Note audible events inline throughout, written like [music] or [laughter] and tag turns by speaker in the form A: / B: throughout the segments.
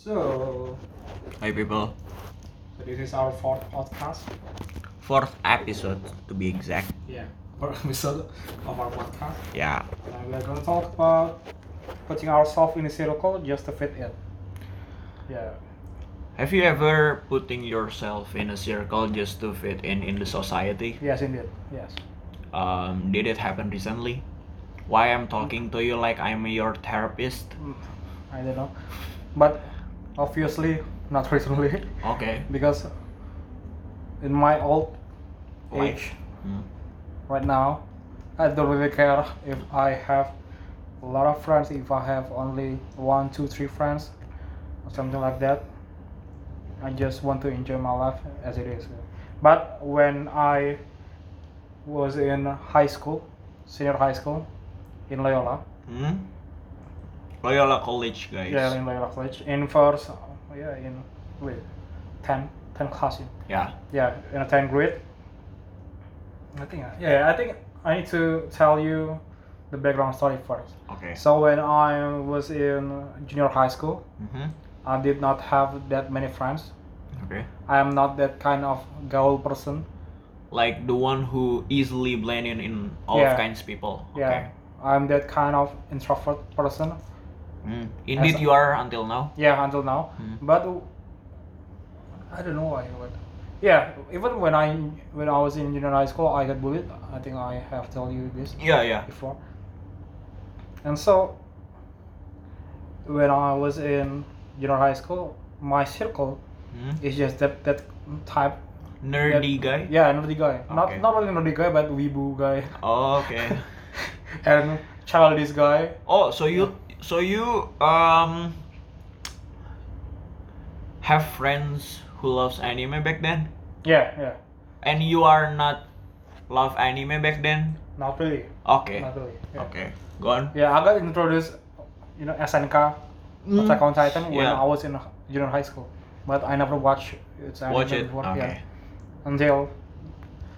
A: So,
B: Hi people,
A: this is our fourth podcast.
B: fourth episode to be exact.
A: Yeah, fourth [laughs] episode of our podcast.
B: Yeah,
A: And we're gonna talk about putting ourselves in a circle just to fit in. Yeah.
B: have you ever putting yourself in a circle just to fit in in the society?
A: Yes, indeed. Yes.
B: Um, did it happen recently? Why I'm talking to you like I'm your therapist?
A: Mm, I don't know, but obviously not [laughs] recently
B: Okay.
A: because in my old
B: Like,
A: age
B: hmm,
A: right now, I don't really care if I have a lot of friends, if I have only one, two, three friends, or something like that. I just want to enjoy my life as it is. But when I was in high school, senior high school, in Loyola,
B: hmm? Loyola College guys.
A: yeah, in Loyola College, in first, yeah, in wait, 10, 10 class, yeah.
B: Yeah.
A: yeah in a 10 grade i think I- yeah i think i need to tell you the background story first
B: Okay.
A: so when i was in junior high school
B: hmm
A: i did not have that many friends
B: Okay.
A: i am not that kind of gaul person
B: Like the one who easily blend in in all
A: Yeah.
B: kinds people.
A: yeah i'm that kind of introvert person
B: Okay. Hmm. Indeed,
A: As-
B: you are until now.
A: yeah until now
B: Hmm.
A: but i don't know why but yeah even when i when i was in junior high school i got bullied i think i have told you this
B: Yeah, yeah.
A: before. And so, when I was in junior high school, my circle
B: Hmm?
A: is just that that type. that-
B: Nerdy guy.
A: Yeah, nerdy guy. Not
B: Okay.
A: not really nerdy guy, but weeboo guy.
B: Oh, Okay.
A: [laughs] and childish guy.
B: Oh, so you so you um have friends who loves anime back then,
A: Yeah, yeah.
B: and you are not love anime back then.
A: Not really.
B: Okay.
A: Not really. Yeah.
B: Okay. Gone.
A: Yeah, I got introduced, you know, SNK, Mm.
B: Mm.
A: Attack on Titan, when
B: yeah.
A: I was in junior high school. But I never watched its anime
B: Watch it.
A: before. Yeah.
B: Okay.
A: Until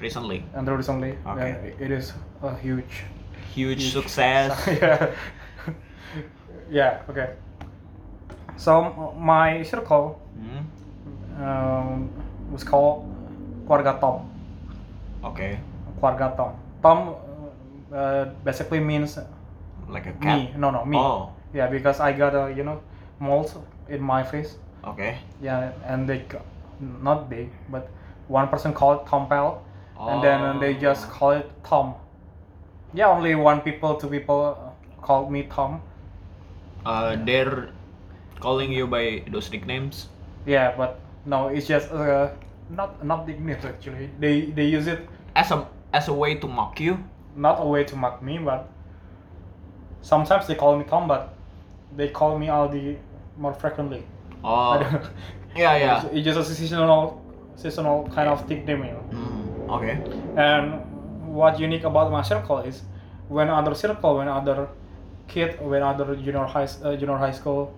B: Recently,
A: and recently, then
B: Okay.
A: it is a huge
B: huge,
A: Huge.
B: success.
A: [laughs] yeah. yeah, okay. So m- my circle
B: Hmm?
A: um, was called keluarga Tom.
B: Okay.
A: Keluarga Tom. Tom uh, basically means
B: Like a cat.
A: me. No, no, me.
B: Oh.
A: Yeah, because I got a you know moles in my face.
B: Okay.
A: Yeah, and they c- not they, but one person called it Tom Pal, and then they just
B: Oh.
A: call it Tom. Yeah, only one people, two people uh, called me Tom.
B: Uh, they're calling you by those nicknames.
A: Yeah, but no, it's just uh, not not nickname actually. They they use it
B: As a as a way to mock you.
A: not a way to mock me, but sometimes they call me Tom, but they call me Aldi more frequently.
B: Oh. yeah, yeah.
A: [laughs] It's, it's just a seasonal seasonal kind of nickname. You know?
B: Mm, okay.
A: And what unique about my circle is when other circle, when other kid, when other junior high s- uh, junior high school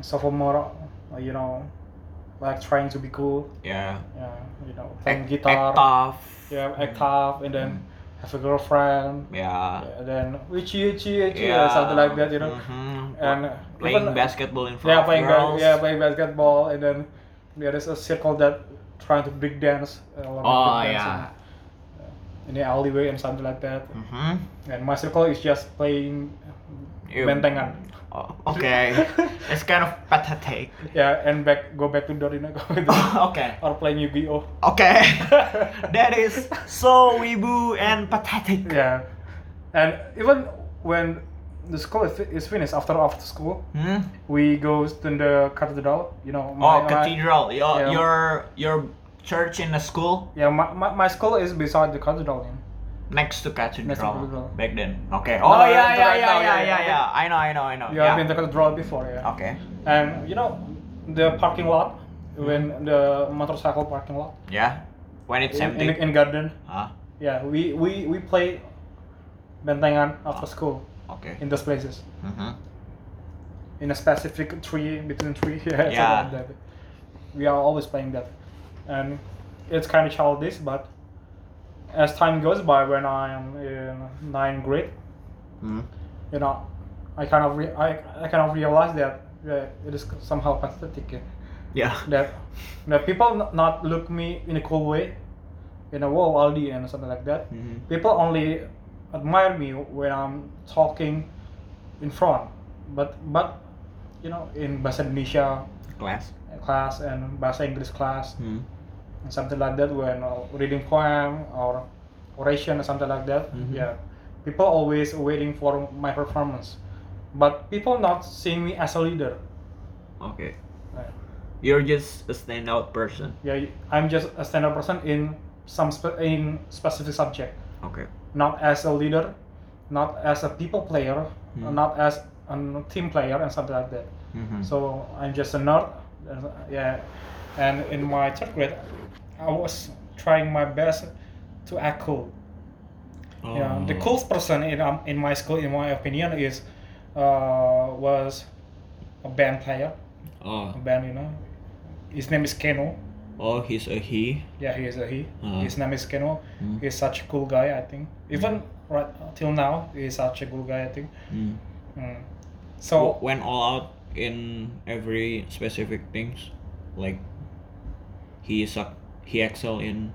A: sophomore, uh, you know, like trying to be cool.
B: Yeah.
A: yeah, you know, playing
B: Act-
A: guitar,
B: Act tough.
A: yeah,
B: Mm.
A: act tough, and then have a girlfriend,
B: Yeah.
A: and then witchy, witchy, witchy, yeah. something like that, you know.
B: Mhm.
A: And
B: playing
A: even-
B: basketball in front
A: Yeah,
B: of
A: playing ba-
B: girls.
A: yeah, playing basketball, and then there is a circle that trying to big dance, a lot
B: Oh,
A: of big dance
B: yeah.
A: in, in the alleyway and something like that.
B: Mhm.
A: And my circle is just playing
B: You-
A: bentengan.
B: Oh,
A: [laughs]
B: okay. it's kind of pathetic. [laughs]
A: Yeah, and back go back to door, you know, [laughs] go back to door.
B: okay.
A: or playing Yu-Gi-Oh. [laughs]
B: Okay. [laughs] that is so weeboo and pathetic.
A: Yeah, and even when the school is, is finished after after school,
B: Hmm?
A: we go to the cathedral. You know,
B: Oh,
A: my, my,
B: cathedral. Your
A: Yeah.
B: your your church in the school
A: yeah, my, my, my school is beside the cathedral. You know?
B: next to cathedral.
A: Next to cathedral.
B: Back then. Okay.
A: No,
B: Oh
A: no,
B: yeah,
A: no,
B: yeah,
A: right
B: yeah,
A: now,
B: yeah,
A: yeah,
B: yeah,
A: yeah.
B: yeah. I know, I know, I know.
A: You have
B: Ah, Yeah. Ah.
A: been to cathedral before, yeah.
B: Okay.
A: And you know, the parking lot
B: Hmm.
A: when the motorcycle parking lot
B: Yeah. When it's
A: in, in,
B: empty.
A: in garden.
B: Ah,
A: Yeah, we we we play bentengan after
B: Ah.
A: school
B: okay.
A: in those places.
B: Mhm.
A: in a specific tree between tree [laughs] yeah, something
B: Yeah.
A: like that. we are always playing that and it's kind of childish but as time goes by when i am in ninth grade
B: Hmm.
A: you know i kind of re- I, I kind of realized that yeah, it is somehow pathetic. Yeah.
B: [laughs] Yeah.
A: that that people n- not look me in a cool way, in a wow Aldi and something like that.
B: Mhm.
A: People only admire me when I'm talking in front, but but you know in bahasa Indonesia
B: Class.
A: class and bahasa Inggris class
B: Hmm.
A: and something like that when uh, reading poem or oration or something like that.
B: Mhm.
A: Yeah, people always waiting for my performance, but people not seeing me as a leader.
B: Okay.
A: Right.
B: You're just a standout person.
A: yeah i'm just a standard person in some spe- in specific subject
B: Okay.
A: not as a leader not as a people player
B: Hmm.
A: not as a team player and something like that
B: Mhm.
A: so i'm just a nerd uh, yeah and in my third grade i was trying my best to act cool yeah the
B: Oh.
A: coolest person in um, in my school in my opinion is uh, was a band player
B: Oh.
A: a band you know his name is keno
B: Oh, he's a he.
A: Yeah, he is a he.
B: Uh-huh.
A: His name is Keno.
B: Mm.
A: He's such a cool guy, I think. Even right till now, he's such a cool guy, I think.
B: Hmm.
A: Mm. So
B: So went all out in every specific things, like he suck, he excel in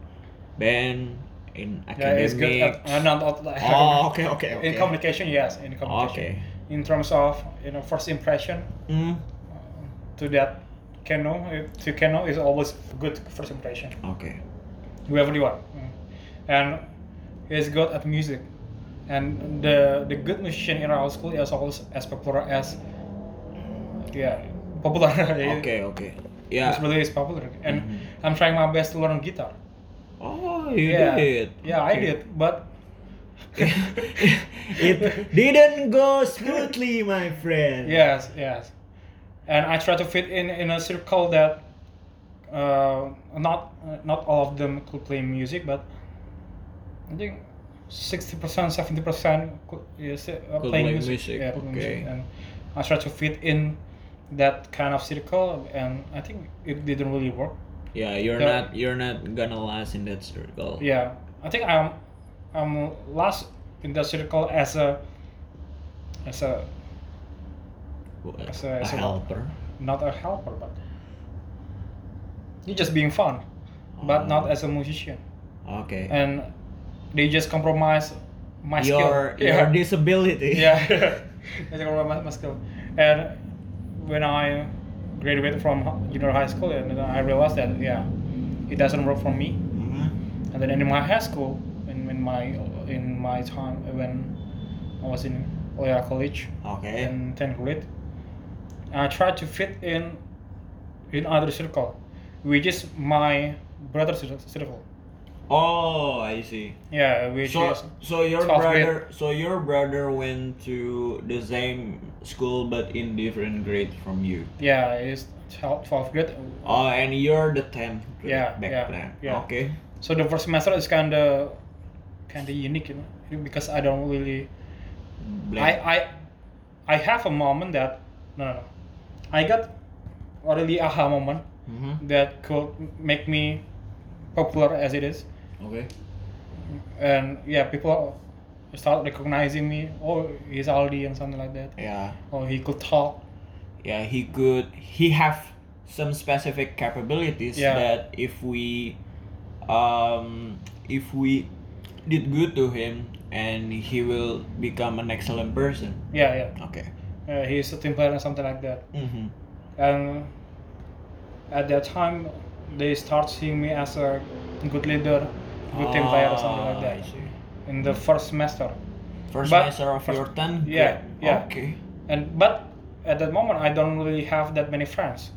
B: band, in
A: yeah, he's good.
B: academics.
A: At, uh, not, not, like- [laughs]
B: Oh, okay, okay, okay.
A: In communication, yes, in communication.
B: Okay.
A: In terms of you know first impression,
B: Mm.
A: uh, to that Keno, uh, to Keno is always good first impression
B: Okay.
A: to everyone, Mm. and he's good at music. And the the good musician in our school is always as popular as yeah popular. [laughs]
B: Okay. Okay.
A: It's
B: Yeah.
A: really is popular, and
B: Mhm.
A: I'm trying my best to learn guitar.
B: Oh, you
A: yeah,
B: did.
A: yeah, I
B: Okay.
A: did, but
B: [laughs]
A: [laughs]
B: it didn't go smoothly, my friend.
A: yes, yes, and I try to fit in in a circle that uh, not uh, not all of them could play music, but I think sixty percent, seventy percent could is, uh,
B: Could
A: playing
B: play
A: music.
B: music,
A: Yeah, playing
B: okay.
A: music, and I try to fit in that kind of circle, and I think it didn't really work.
B: Yeah, you're
A: Yeah.
B: not you're not gonna last in that circle.
A: Yeah, I think I'm I'm last in the circle as a as a
B: What?
A: As a-
B: a
A: as a-
B: helper.
A: not a helper, but you're just being fun, but not
B: Oh.
A: as a musician.
B: Okay.
A: And they just compromise my
B: your
A: skill.
B: your
A: [laughs]
B: disability.
A: yeah, they compromise my skill. And when I graduated from hu- junior high school, and then I realized that yeah, it doesn't work for me.
B: Mhm.
A: and then in my high school in, in my in my time when I was in Loyola College
B: Okay.
A: in 10th grade I tried to fit in in other circle which is my brother's cir- circle
B: Oh, I see.
A: yeah which
B: So,
A: is
B: so your
A: twelfth grade.
B: brother, so your brother went to the same school but in different grade from you.
A: yeah is 12th grade
B: Oh, and you're the tenth grade
A: Yeah,
B: back
A: yeah,
B: then.
A: yeah.
B: Okay.
A: so the first semester is kind of kind of unique you know because I don't really
B: Black.
A: I, I I have a moment that no no no I got a really aha moment
B: Mhm.
A: that could make me popular as it is
B: Okay.
A: and yeah people start recognizing me oh he's aldi and something like that
B: Yeah.
A: oh he could talk
B: yeah he could he have some specific capabilities
A: Yeah.
B: that if we um if we did good to him and he will become an excellent person
A: yeah
B: okay
A: yeah uh, he's a team player and something like that
B: mm-hmm.
A: and at that time they start seeing me as a good leader good team player or something like that in the first semester
B: Ah, first
A: But-
B: semester of
A: first-
B: your 10
A: yeah, yeah.
B: okay
A: and but at that moment i don't really have that many friends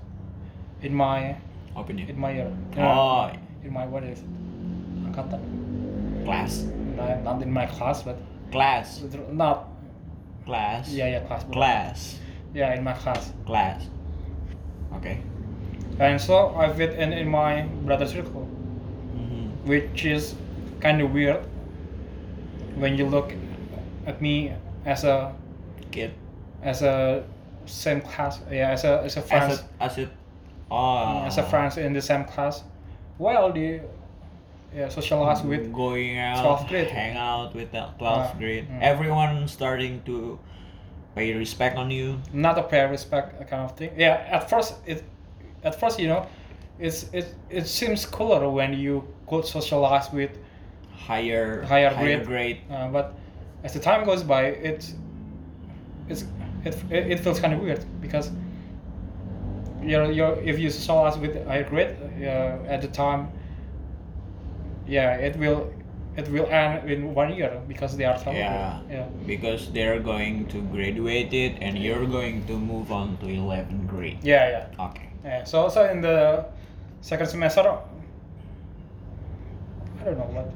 A: in my
B: opinion
A: in my year you
B: oh
A: know, in my what is it angkatan
B: class
A: not, not in my class, but
B: class
A: not
B: class
A: yeah yeah class
B: class
A: yeah in my class.
B: class okay
A: And so I fit in in my brother circle,
B: mm-hmm.
A: which is kind of weird when you look at me as a
B: kid
A: as a same class yeah as a Ah. as a friends
B: as a as a oh
A: as a friends in the same class. While the yeah socialize with
B: going out,
A: 12th grade.
B: hang out with the
A: Ah,
B: 12th grade.
A: mm.
B: Everyone starting to pay respect on you.
A: not a pay respect kind of thing. Yeah, at first it, at first you know, it's it it seems cooler when you could socialize with,
B: Higher
A: Higher grade.
B: grade.
A: uh, but as the time goes by, it, it's it it, it feels kind of weird because. You're, you're, if you socialize with higher grade uh, at the time, yeah, it will it will end in one year because they are talented.
B: Yeah.
A: yeah.
B: Because they're going to graduate it and you're going to move on to 11th grade.
A: Yeah, yeah.
B: Okay.
A: Yeah, so also in the second semester, I don't know what.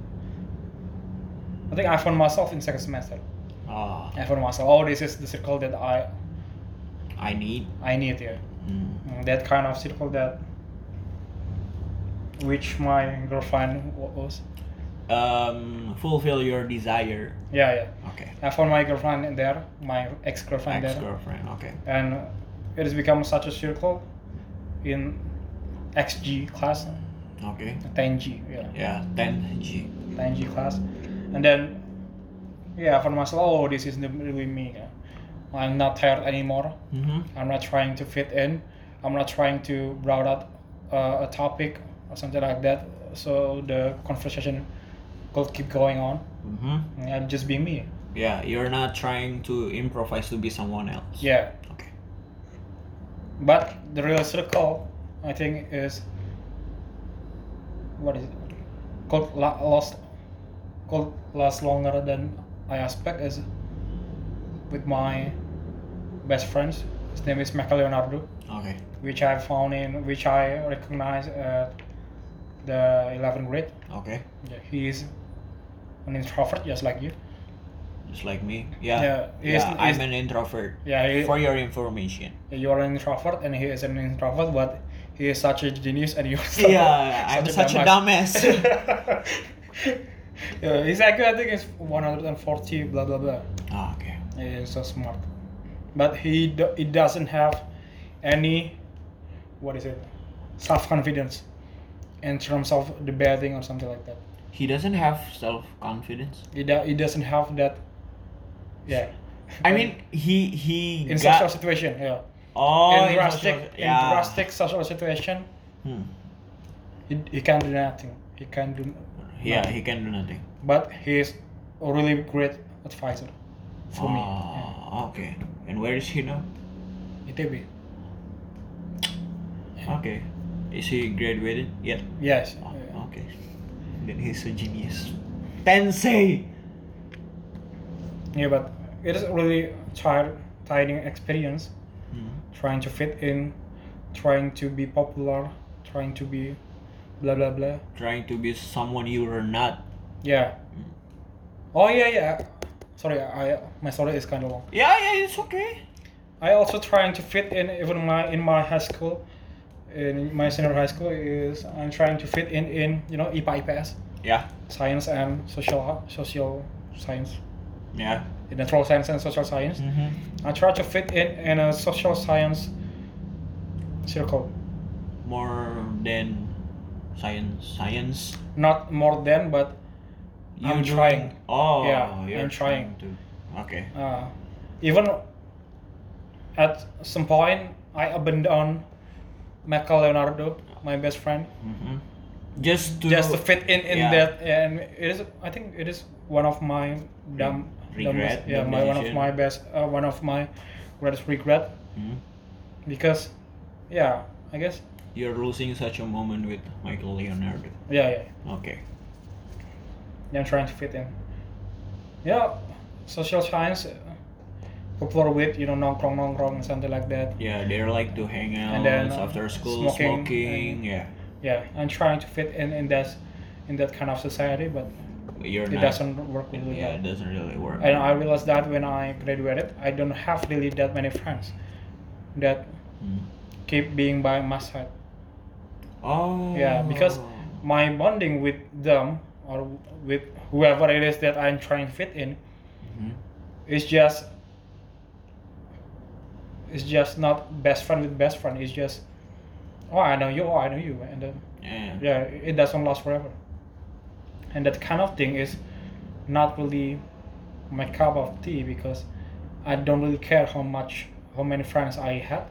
A: I think I found myself in second semester.
B: Ah,
A: I found myself. Oh, this is the circle that I
B: I need.
A: I need here.
B: Mm.
A: Mm, That kind of circle that which my girlfriend wa- was.
B: Um, fulfill your desire.
A: Yeah, yeah.
B: Okay.
A: I found my girlfriend in there, my ex girlfriend
B: Ex
A: there,
B: girlfriend. Okay.
A: and it has become such a circle in XG class,
B: Okay.
A: 10G. Yeah.
B: Yeah. 10 G.
A: G class and then yeah for myself oh this is the really me I'm not tired anymore
B: Mm-hmm.
A: I'm not trying to fit in I'm not trying to brought out uh, a topic or something like that so the conversation could keep going on
B: Mm-hmm.
A: and I'm just being me
B: Yeah. You're not trying to improvise to be someone else.
A: yeah
B: Okay.
A: but the real circle I think is what is it called la- last called last longer than I expect is with my best friends his name is Michael Leonardo
B: Okay.
A: which I found in which I recognize at the 11th grade
B: Okay.
A: yeah, he is an introvert just like you
B: Just like me. Yeah.
A: Yeah, he's-
B: yeah, I'm
A: he's-
B: an introvert.
A: yeah he,
B: For your information.
A: you are an introvert and he is an introvert but he is such a genius and you are [laughs] such a-
B: Yeah, I'm such a dumbass.
A: [laughs] yeah, he's like I think it's 140 blah blah blah.
B: ah, okay.
A: He's so smart, but he do- he doesn't have any what is it self confidence in terms of debating or something like that.
B: He doesn't have self confidence.
A: He, do- he doesn't have that. Yeah.
B: I mean, he he
A: in
B: got
A: social situation, yeah.
B: oh
A: in
B: in
A: drastic,
B: social-
A: in
B: yeah.
A: drastic social situation,
B: Hmm.
A: he, he can't do nothing. He can't do.
B: Yeah, he can do nothing.
A: But he is a really great advisor for me. Yeah.
B: Ah, okay. And where is he now?
A: ITB.
B: Okay. Is he graduated yet?
A: Yes.
B: Oh,
A: yeah.
B: okay. Then he's a genius. Tensei.
A: Yeah, but it is really tired, tiring experience
B: Hmm.
A: trying to fit in, trying to be popular, trying to be blah blah blah.
B: Trying to be someone you are not.
A: Yeah. Oh yeah yeah. Sorry, I my story is kind of long.
B: Yeah, yeah, it's okay.
A: I also trying to fit in even my in my high school, in my senior high school is I'm trying to fit in in you know E IPA IPS
B: Yeah,
A: science and social social science,
B: yeah.
A: in natural science and social science.
B: Mm-hmm.
A: I try to fit in in a social science circle,
B: More than science, science.
A: not more than, but I'm trying.
B: Oh,
A: Yeah,
B: you're
A: I'm trying.
B: to. Okay.
A: uh, even at some point I abandoned Michael Leonardo, my best friend,
B: Mm-hmm. Just to
A: just to fit in in
B: yeah.
A: that, and it is I think it is one of my dumb, dumbest-
B: regret,
A: yeah,
B: dumb
A: my, one of
B: decision.
A: my best, uh, one of my greatest regret
B: Mhm.
A: because, yeah, I guess,
B: You're losing such a moment with Michael Leonardo.
A: yeah, yeah.
B: Okay.
A: than trying to fit in. Yeah, social science, uh, popular with you know nongkrong nongkrong and something like that.
B: Yeah, they like to hang out
A: And then, uh,
B: after school,
A: smoking
B: smoking.
A: and-
B: yeah,
A: Yeah, and trying to fit in in that in that kind of society, but
B: you're
A: it
B: not.
A: doesn't work really
B: yeah, it
A: well.
B: doesn't really work.
A: And I realized that when I graduated, I don't have really that many friends that
B: Mm.
A: keep being by my side.
B: Oh.
A: Yeah, because
B: Mm-hmm.
A: my bonding with them or with whoever it is that I'm trying to fit in
B: Mhm.
A: it's just it's just not best friend with best friend it's just oh i know you oh i know you and then
B: Yeah.
A: yeah it doesn't last forever and that kind of thing is not really my cup of tea because I don't really care how much how many friends I had.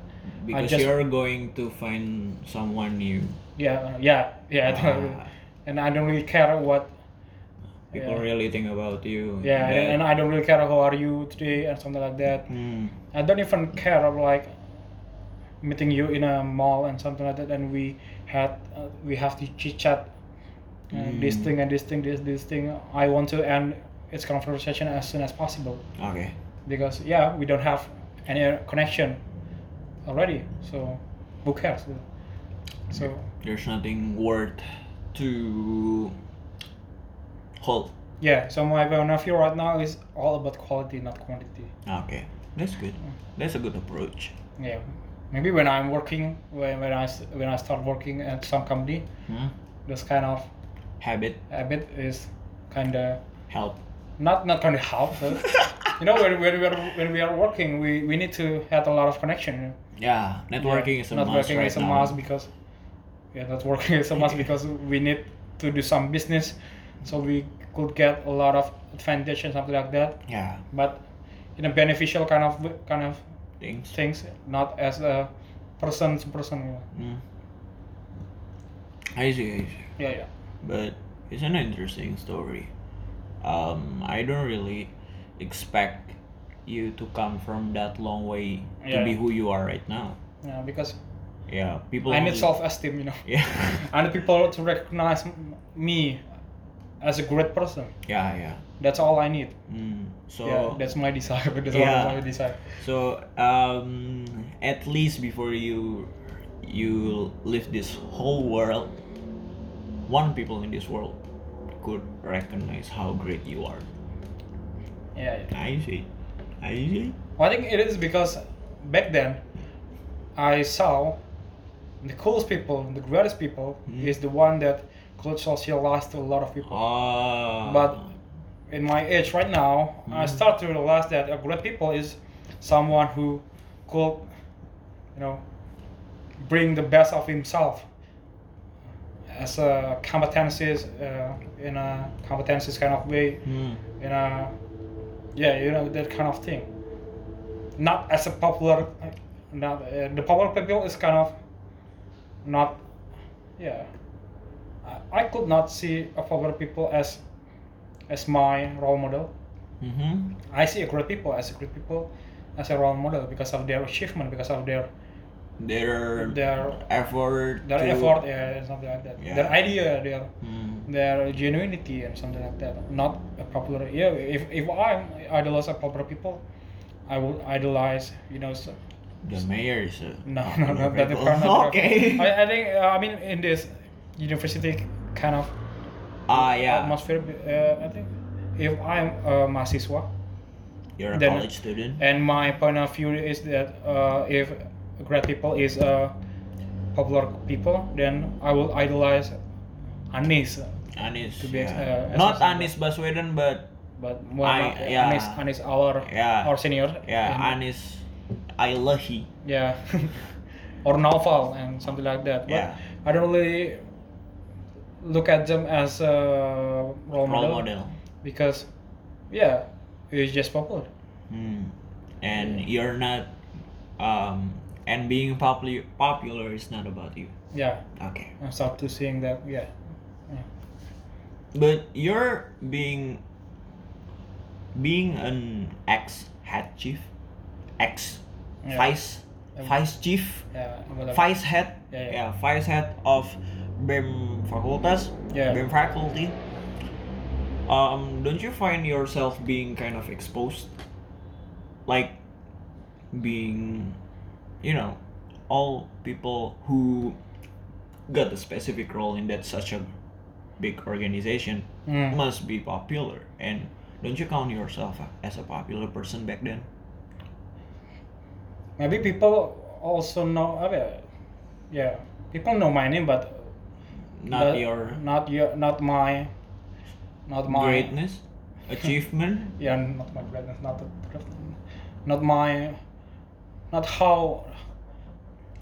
B: because
A: just-
B: you're going to find someone new.
A: Yeah, uh, yeah, yeah. I don't really-
B: Ah,
A: and I don't really care what.
B: people
A: yeah,
B: really think about you.
A: yeah
B: that-
A: and, and I don't really care how are you today and something like that.
B: Hmm.
A: I don't even care of like meeting you in a mall and something like that, and we had uh, we have to chit chat uh, this
B: Mm.
A: thing and this thing, this this thing. I want to end its conversation as soon as possible
B: Okay.
A: because yeah, we don't have any connection already, so who cares? So
B: There's nothing worth to hold.
A: yeah, so my point of view right now is all about quality, not quantity.
B: Okay. That's good. That's a good approach.
A: Yeah, maybe when I'm working, when when I s- when I start working at some company,
B: Hmm?
A: this kind of
B: Habit
A: habit is kind of
B: help.
A: not not kind of help but Uh, you know when, when we are when we are working we, we need to have a lot of connection
B: [laughs] yeah, networking
A: Yeah,
B: is a
A: not
B: must
A: working
B: right
A: is a
B: now.
A: must because yeah not working is a
B: [laughs]
A: must because we need to do some business so we could get a lot of advantage and something like that
B: Yeah,
A: but in a beneficial kind of kind of
B: things.
A: things not as a person to person you know.
B: Hmm. I see. I see.
A: yeah yeah
B: but it's an interesting story. Um, I don't really expect you to come from that long way to
A: Yeah.
B: be who you are right now.
A: yeah because
B: Yeah, people.
A: i need
B: only-
A: self-esteem you know
B: [laughs] Yeah,
A: I need people to recognize m- me as a great person
B: yeah, yeah.
A: that's all I need.
B: Mm. So,
A: yeah, that's my desire. [laughs] That's
B: Yeah.
A: all my desire.
B: so um, at least before you you leave this whole world, one people in this world could recognize how great you are.
A: Yeah. yeah.
B: I see. I see.
A: Well, I think it is because back then I saw the coolest people, the greatest people,
B: Mhm.
A: is the one that could socialize to a lot of people.
B: Ah.
A: But In my age right now, I
B: Mhm.
A: start to realize that a great people is someone who could, you know, bring the best of himself as a competencies uh, in a competencies kind of way
B: Hmm.
A: you know uh, yeah you know that kind of thing not as a popular not uh, the popular people is kind of not yeah I, I could not see a popular people as as my role model
B: Mm-hmm.
A: i see a great people as a great people as a role model because of their achievement because of their
B: Their
A: Their-
B: effort.
A: their
B: to-
A: effort yeah, and something like that
B: Yeah.
A: their idea their
B: Hmm.
A: their genuinity and something like that. Not a popular. Yeah, if if I idolize a popular people, I would idolize. You know, so, [laughs]
B: The mayor is a [laughs]
A: no, no, no. That
B: people.
A: depends
B: [laughs]
A: on-
B: Okay.
A: I, I think uh, I mean in this university kind of
B: ah yeah.
A: atmosphere. Uh, I think if I'm a mahasiswa
B: You're a
A: then-
B: college student.
A: and my point of view is that uh, if great people is uh, popular people, then I will idolize Anis.
B: Anis.
A: to be ex-
B: yeah.
A: uh, as
B: Not
A: a symbol.
B: Anis Baswedan, but
A: But more
B: I-
A: like
B: yeah.
A: Anis, Anis our
B: Yeah.
A: our senior.
B: yeah,
A: and-
B: Anis. I love he.
A: yeah [laughs] or novel and something like that but
B: Yeah.
A: i don't really look at them as a role,
B: Role
A: model,
B: model.
A: because yeah it's just popular
B: Hmm. And you're not. Um. And being popular popular is not about you.
A: yeah
B: Okay.
A: i start to seeing that yeah
B: But you're being being an ex head chief, ex
A: Yeah.
B: vice
A: Um,
B: vice chief,
A: yeah whatever.
B: vice head,
A: Yeah, yeah.
B: vice head of BEM facultas,
A: Yeah.
B: BEM faculty. Um, don't you find yourself being kind of exposed, like being, you know, all people who got a specific role in that such a big organization
A: Mm.
B: must be popular and don't you count yourself as a popular person back then
A: maybe people also know uh, yeah, yeah people know my name but
B: not
A: but
B: your
A: not your not my not my
B: greatness achievement
A: yeah not my greatness not the, not my not how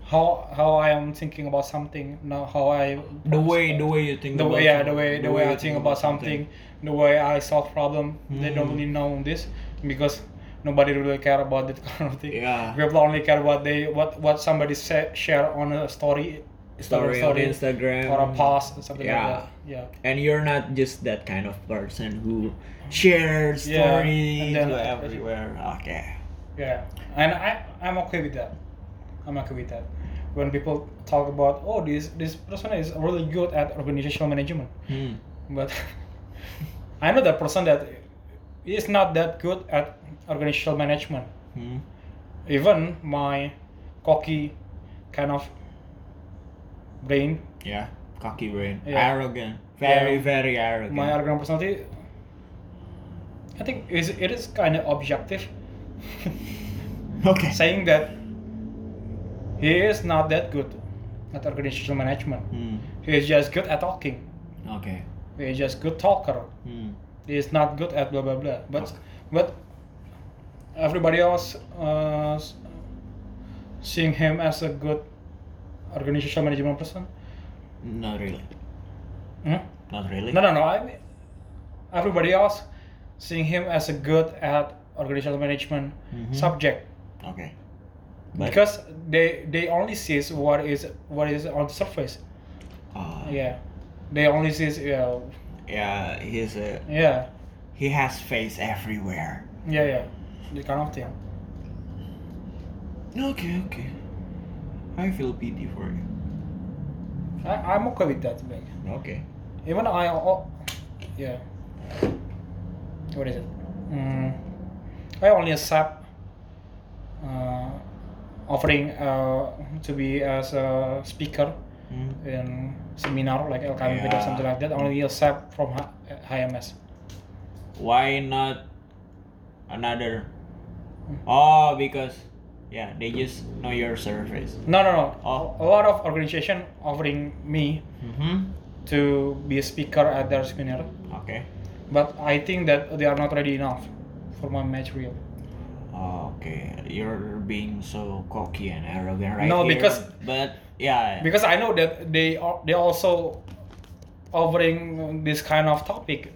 A: how how i am thinking about something not how i
B: the way the way you think
A: the
B: about
A: way yeah
B: some-
A: the way the, way, i
B: you
A: think about something, the way i solve problem they don't
B: Mm.
A: really know this because nobody really care about that [laughs] kind of thing.
B: Yeah.
A: People only care what they what what somebody say, share on a story,
B: Story on Instagram.
A: or a post or something
B: Yeah.
A: like that. Yeah.
B: And you're not just that kind of person who shares
A: Yeah,
B: stories
A: and then-
B: to everywhere. Okay.
A: Yeah, and I I'm okay with that. I'm okay with that. When people talk about oh this this person is really good at organizational management,
B: Hmm.
A: but [laughs] I know the person that is not that good at organizational management.
B: Hmm.
A: Even my cocky kind of brain,
B: Yeah. Cocky brain.
A: Yeah.
B: Arrogant. Very,
A: Yeah.
B: very arrogant.
A: my arrogant personality, I think is it is kind of objective. [laughs]
B: okay.
A: saying that he is not that good at organizational management.
B: Hmm.
A: He is just good at talking.
B: Okay.
A: He is just good talker.
B: Hmm.
A: He is not good at blah blah blah. But
B: Okay.
A: but everybody else uh, s- seeing him as a good organizational management person.
B: Not really.
A: Hmm?
B: Not really.
A: No no no. I mean, everybody else seeing him as a good at organizational management
B: Mhm.
A: subject.
B: Okay. But,
A: because they they only sees what is what is on surface.
B: uh,
A: Yeah, they only sees yeah
B: yeah, he's a
A: yeah
B: he has face everywhere.
A: yeah yeah the kind of thing.
B: Okay, okay. I feel pity for you.
A: I I'm okay with that. Like,
B: Okay.
A: even I oh, yeah. What is it? Mm, I only accept uh, offering uh, to be as a speaker
B: Hmm.
A: in seminar like LKMP or
B: Yeah.
A: something like that. Only accept from H- HMS.
B: Why not another?
A: Hmm.
B: Oh, because yeah, they just know your surface.
A: No, no, no.
B: Oh.
A: A lot of organization offering me
B: Mm-hmm.
A: to be a speaker at their seminar,
B: Okay.
A: but I think that they are not ready enough for my material.
B: Okay, you're being so cocky and arrogant right
A: No,
B: here,
A: because-
B: but yeah,
A: Because I know that they are, they also offering this kind of topic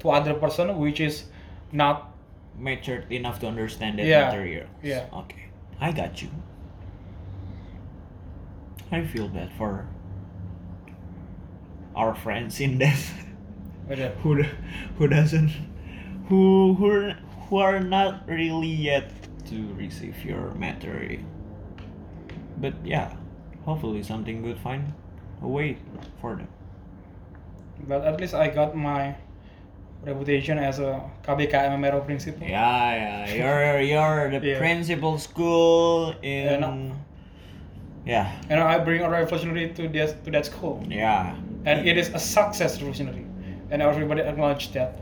A: to other person which is not
B: matured enough to understand that
A: Yeah,
B: material.
A: yeah.
B: Okay, I got you. I feel bad for our friends in this [laughs] who do- who doesn't who who are- who are not really yet to receive your material. But yeah, hopefully something good find a way for them.
A: but at least I got my reputation as a KBK MMRO principal.
B: Yeah, yeah. You're you're the
A: [laughs] Yeah.
B: principal school in.
A: no.
B: Yeah,
A: And I bring a revolutionary to this to that school.
B: yeah.
A: and it is a success revolutionary and everybody acknowledged that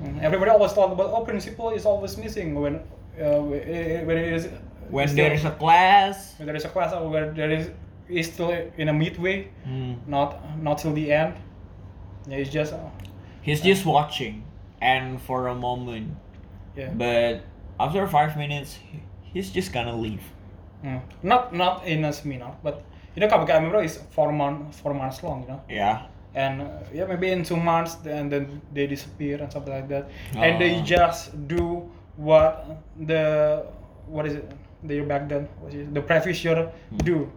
A: Mm. everybody always talk about oh principle is always missing when uh, when it is
B: When
A: still-
B: there is a class.
A: when there is a class or where there is is still in a midway
B: Hmm.
A: not not till the end yeah, it's just uh,
B: He's just watching, and for a moment,
A: yeah
B: but after five minutes, he- he's just gonna leave.
A: Mm. not not in a seminar but you know KBK remember is four month four months long you know
B: Yeah.
A: and uh, yeah maybe in two months and then they disappear and something like that and they
B: Ah.
A: just do what the what is it they back then what is it? the previous year
B: Hmm.
A: do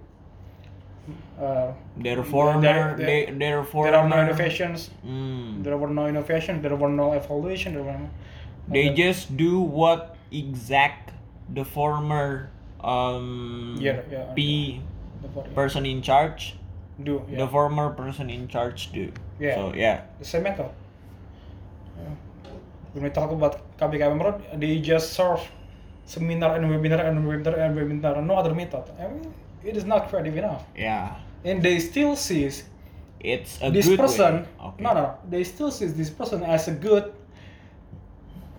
A: uh,
B: Therefore,
A: There- there-
B: there, there, therefore,
A: there are no innovations
B: Mm.
A: there were no innovations there were no evaluation there were no,
B: They just do what exact the former um
A: Yeah, yeah, I
B: P
A: the body.
B: person in charge
A: do yeah.
B: the former person in charge do.
A: Yeah.
B: So yeah.
A: the same method Yeah. when we talk about KBKM road they just serve seminar and webinar and webinar and webinar no other method I mean, it is not creative enough
B: Yeah.
A: and they still sees
B: It's a
A: this
B: good
A: person
B: way. Okay.
A: no no they still sees this person as a good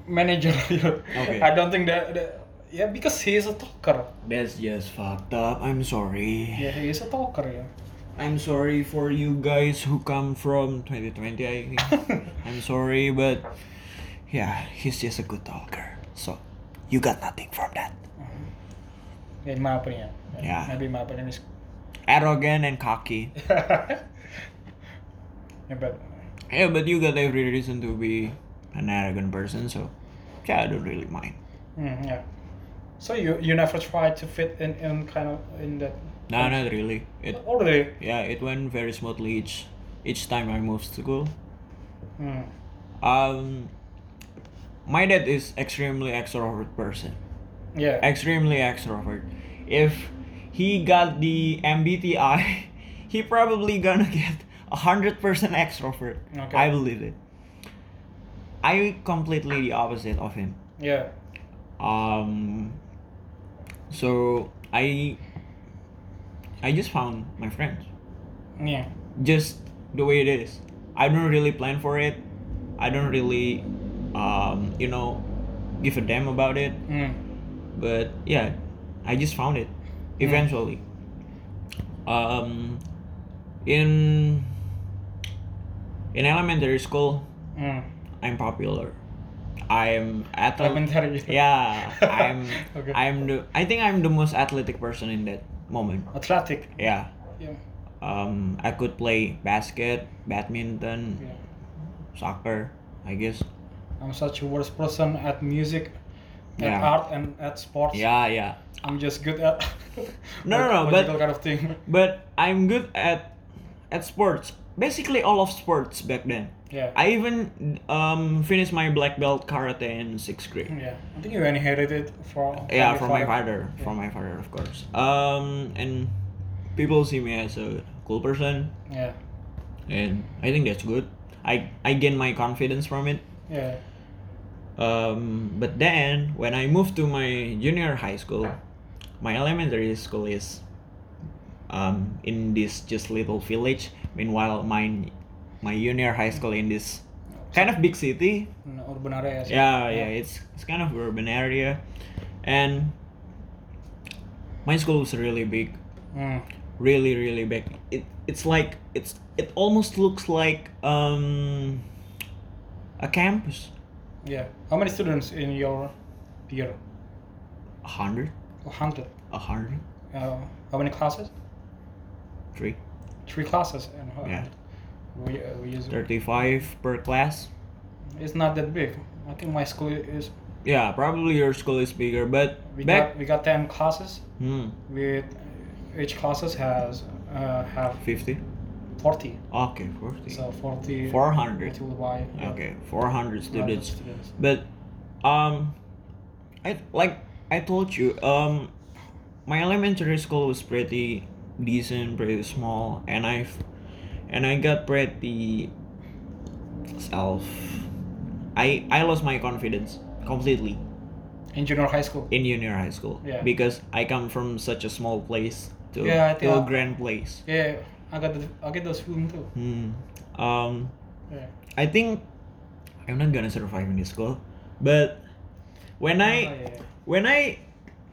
A: manager
B: Okay.
A: [laughs] i don't think that, that yeah because he is a talker
B: That's just fucked up. I'm sorry.
A: yeah he is a talker yeah [laughs]
B: I'm sorry for you guys who come from 2020.
A: [laughs]
B: I think. I'm sorry, but yeah, he's just a good talker. So you got nothing from that.
A: Yeah, in my opinion
B: Yeah.
A: maybe my opinion is [laughs]
B: Arrogant and cocky.
A: yeah, but
B: Yeah, but you got every reason to be an arrogant person, so yeah, I don't really mind.
A: Mm, yeah. So you you never tried to fit in in kind of in that.
B: No, not really. It
A: Already.
B: yeah, it went very smoothly each each time I moved to school.
A: Mm.
B: Um, my dad is extremely extrovert person.
A: Yeah.
B: Extremely extrovert. If he got the MBTI, [laughs] he probably gonna get a hundred percent extrovert.
A: Okay.
B: I believe it. I completely the opposite of him.
A: Yeah.
B: Um, so I I just found my friends.
A: Yeah.
B: Just the way it is. I don't really plan for it. I don't really um, you know give a damn about it.
A: Mm.
B: But yeah, I just found it eventually. Um, in in elementary school,
A: Mm.
B: I'm popular. I'm athletic.
A: Elementary. [laughs]
B: Yeah, I'm.
A: Okay.
B: I'm the. I think I'm the most athletic person in that moment.
A: Athletic.
B: Yeah.
A: Yeah.
B: Um, I could play basket, badminton,
A: yeah.
B: soccer. I guess.
A: I'm such a worse person at music, at
B: Yeah.
A: art, and at sports.
B: Yeah, yeah.
A: I'm just good at. [laughs]
B: No, no, no,
A: logical
B: but-
A: kind of thing. [laughs]
B: But I'm good at at sports. Basically, all of sports back then.
A: Yeah.
B: I even um finished my black belt karate in sixth grade.
A: yeah. I think you inherited it from.
B: yeah
A: your
B: from my father from my father of course um and people see me as a cool person
A: Yeah.
B: and i think that's good i i gain my confidence from it
A: Yeah.
B: um but then when i moved to my junior high school my elementary school is um in this just little village meanwhile my my junior high school in this kind of big city
A: In urban areas.
B: yeah yeah it's it's kind of urban area and my school is really big
A: Mm.
B: really really big it it's like it's it almost looks like um a campus
A: Yeah. How many students in your year?
B: a hundred
A: A hundred.
B: a hundred
A: Uh, how many classes?
B: three
A: Three classes. And how
B: Yeah.
A: We, uh, we use,
B: 35 per class
A: it's not that big. I think my school is.
B: yeah probably your school is bigger but
A: We
B: back
A: got we got ten classes.
B: hmm
A: With each classes has uh, have
B: 50
A: 40.
B: okay 40
A: So 40.
B: 400
A: multiplied by uh,
B: okay
A: 100
B: 400 students
A: students.
B: But um I like I told you, um my elementary school was pretty decent, pretty small and I've and I got pretty self I I lost my confidence completely
A: In junior high school.
B: in junior high school.
A: Yeah.
B: Because I come from such a small place to,
A: Yeah, I think
B: to a
A: I-
B: grand place.
A: Yeah, I got the, I get those feeling too.
B: Hmm. Um
A: Yeah.
B: I think I'm not gonna survive in this school. But when I
A: Oh, yeah,
B: when I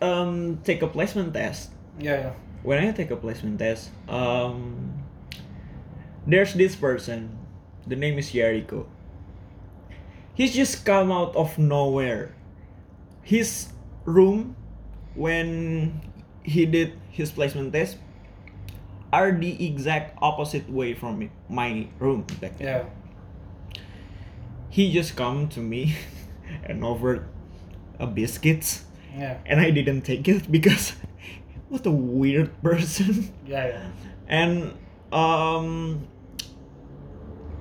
B: um take a placement test,
A: yeah, yeah.
B: when I take a placement test, um there's this person. The name is Jericho. He's just come out of nowhere. His room when he did his placement test are the exact opposite way from it- my room back then.
A: yeah.
B: He just come to me [laughs] and offered a biscuits
A: Yeah,
B: and I didn't take it because [laughs] what a weird [laughs] person.
A: yeah, yeah.
B: And um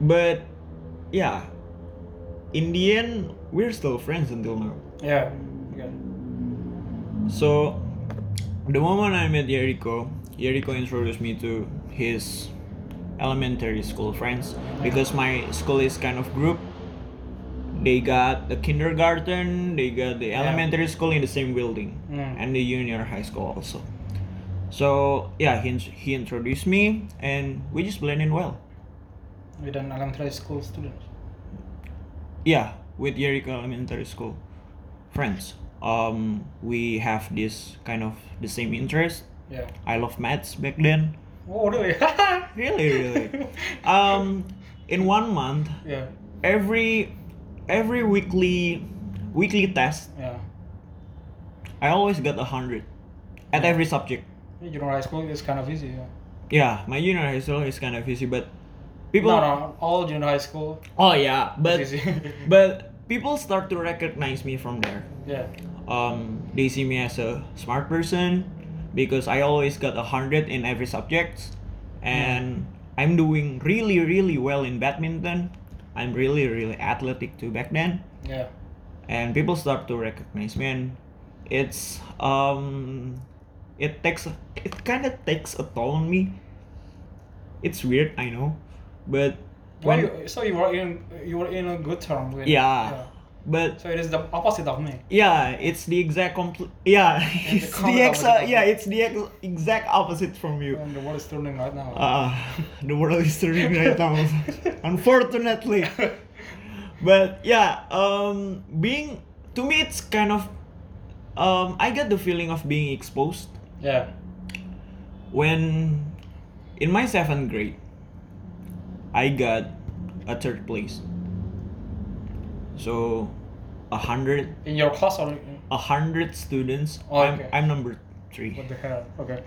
B: but yeah. In the end we're still friends until now.
A: Yeah, yeah.
B: So the moment I met Jericho, Jericho introduced me to his elementary school friends because my school is kind of group. They got the kindergarten, they got the
A: Yeah.
B: elementary school in the same building,
A: Mm.
B: and the junior high school also. So yeah, he, int- he introduced me, and we just blend in well.
A: With an elementary school student.
B: yeah with Jericho Elementary School friends. Um, we have this kind of the same interest.
A: Yeah.
B: I love maths back then.
A: Oh, really?
B: [laughs] Really,
A: [laughs]
B: really. um, in one month,
A: yeah,
B: every every weekly weekly test,
A: yeah.
B: I always got a hundred at every subject.
A: Junior high school is kind of easy. Yeah.
B: Yeah, my junior high school is kind of easy, but people.
A: No, no, all junior high school
B: Oh yeah,
A: is
B: but
A: easy. [laughs]
B: but people start to recognize me from there.
A: Yeah.
B: Um, they see me as a smart person because I always got a hundred in every subject, and I'm doing really really well in badminton. I'm really really athletic too back then,
A: Yeah.
B: and people start to recognize me. And it's um, it takes it kind of takes a toll on me. It's weird, I know, but
A: Well,
B: when
A: you, so you were in you were in a good term with.
B: Yeah. but
A: So it is the opposite of me.
B: Yeah, it's the exact compl- Yeah,
A: the
B: [laughs] it's the
A: complete opposite
B: exact.
A: of
B: Yeah,
A: you.
B: it's the ex- exact opposite from you.
A: And the world is turning right now.
B: Uh, [laughs] the world is turning right
A: [laughs]
B: now, unfortunately. But yeah, um, being to me, it's kind of. Um, I get the feeling of being exposed
A: yeah.
B: when, in my seventh grade, I got a third place. So, a hundred
A: In your class or in-
B: a hundred students.
A: Oh,
B: I'm,
A: okay.
B: I'm number three.
A: what the hell? Okay.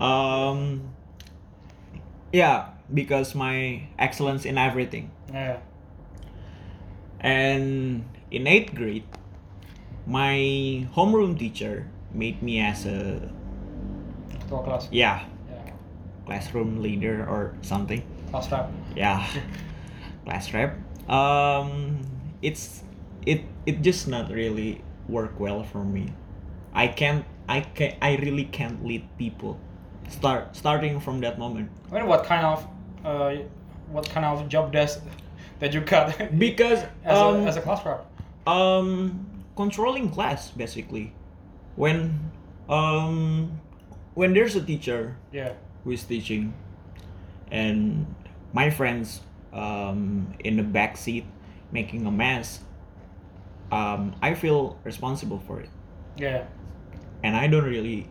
B: Um, yeah, because my excellence in everything.
A: Yeah.
B: And in eighth grade, my homeroom teacher made me as a
A: To a class.
B: yeah
A: Yeah.
B: classroom leader or something.
A: Class rap.
B: Yeah, [laughs] class rep. Um, it's it it just not really work well for me. I can't. I can. I really can't lead people. Start starting from that moment
A: I mean, what kind of uh, what kind of job desk that you got [laughs] as,
B: because
A: a,
B: um
A: as a class rap?
B: um controlling class basically. When um when there's a teacher
A: Yeah.
B: who is teaching and my friends um, in the back seat making a mess um, i feel responsible for it
A: Yeah.
B: and i don't really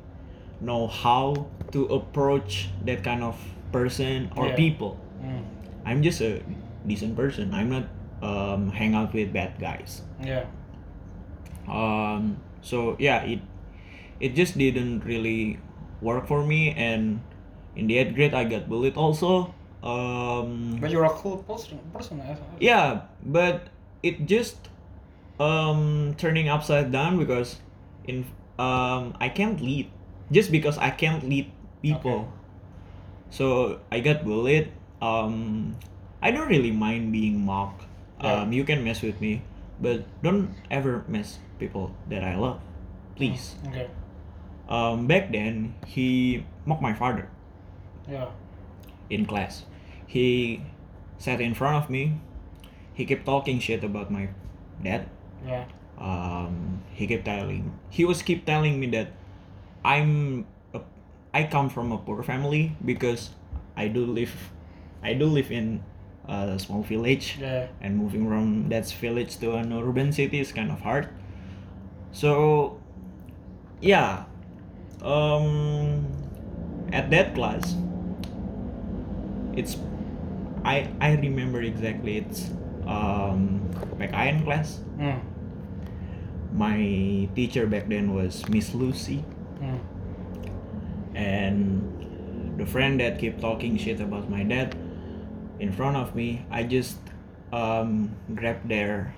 B: know how to approach that kind of person or
A: Yeah.
B: people
A: Mm.
B: i'm just a decent person i'm not um, hang out with bad guys
A: Yeah.
B: um so yeah it it just didn't really work for me and in the eighth grade i got bullied also um
A: But you're a cool person. Person. eh? I- I-
B: yeah but it just um turning upside down because in um i can't lead just because i can't lead people so i got bullied um i don't really mind being mocked
A: Yeah.
B: um you can mess with me but don't ever mess people that i love please
A: Okay.
B: um back then he mocked my father
A: Yeah.
B: in class. He sat in front of me. He kept talking shit about my dad.
A: Yeah.
B: Um, he kept telling he was keep telling me that I'm a, I come from a poor family because I do live I do live in a small village
A: Yeah.
B: and moving from that village to an urban city is kind of hard so yeah um at that class it's i i remember exactly it's um back iron class
A: Mm.
B: my teacher back then was miss lucy
A: Mm.
B: and the friend that kept talking shit about my dad in front of me i just um, grabbed their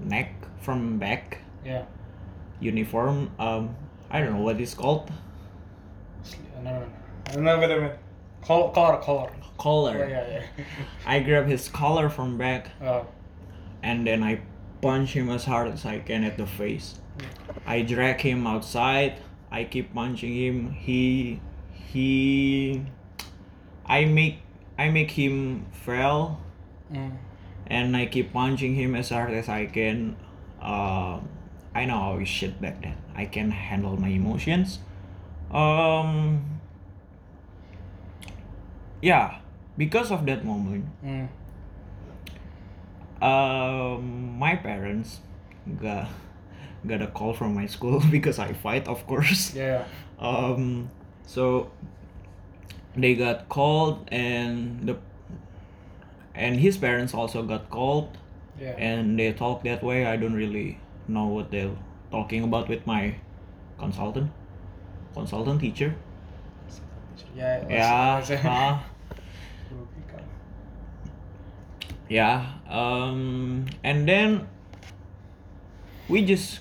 B: neck from back
A: Yeah.
B: uniform um, i don't know what it's called
A: Sli- No, no, no. No, wait a minute. Col- color, color.
B: collar
A: Yeah, yeah,
B: i grabbed his collar from back
A: yeah. Uh,
B: and then i punch him as hard as i can at the face i drag him outside i keep punching him he he i make i make him fell
A: mm.
B: and I keep punching him as hard as I can. Um, I know I was shit back then. I can handle my emotions. Um, yeah, because of that moment,
A: Mm.
B: um, my parents got got a call from my school [laughs] because I fight, of course.
A: Yeah.
B: Um, so they got called, and the and his parents also got called
A: Yeah.
B: and they talk that way i don't really know what they're talking about with my consultant consultant teacher
A: Yeah.
B: yeah
A: that's-
B: uh,
A: that's-
B: yeah um and then we just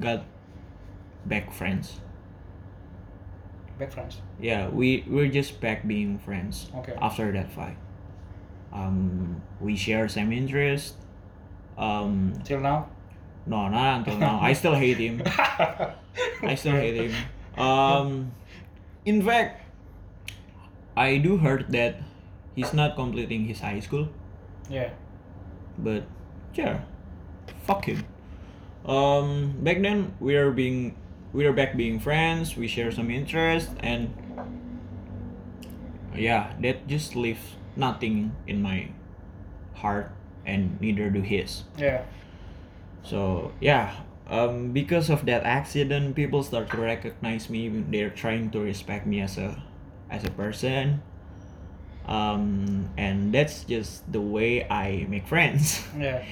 B: got back friends.
A: Back friends.
B: Yeah, we we're just back being friends
A: Okay.
B: after that fight. Um, we share same interest. Um,
A: Till now.
B: no, not until now. I still hate
A: [laughs]
B: him. I still hate him. Um, in fact, I do heard that he's not completing his high school,
A: Yeah.
B: but yeah, fuck him. Um, back then we are being we are back being friends. We share some interest and yeah, that just leaves nothing in my heart and neither do his.
A: Yeah.
B: So yeah, um, because of that accident, people start to recognize me. They're trying to respect me as a, as a person. Um, and that's just the way I make friends. [laughs]
A: Yeah.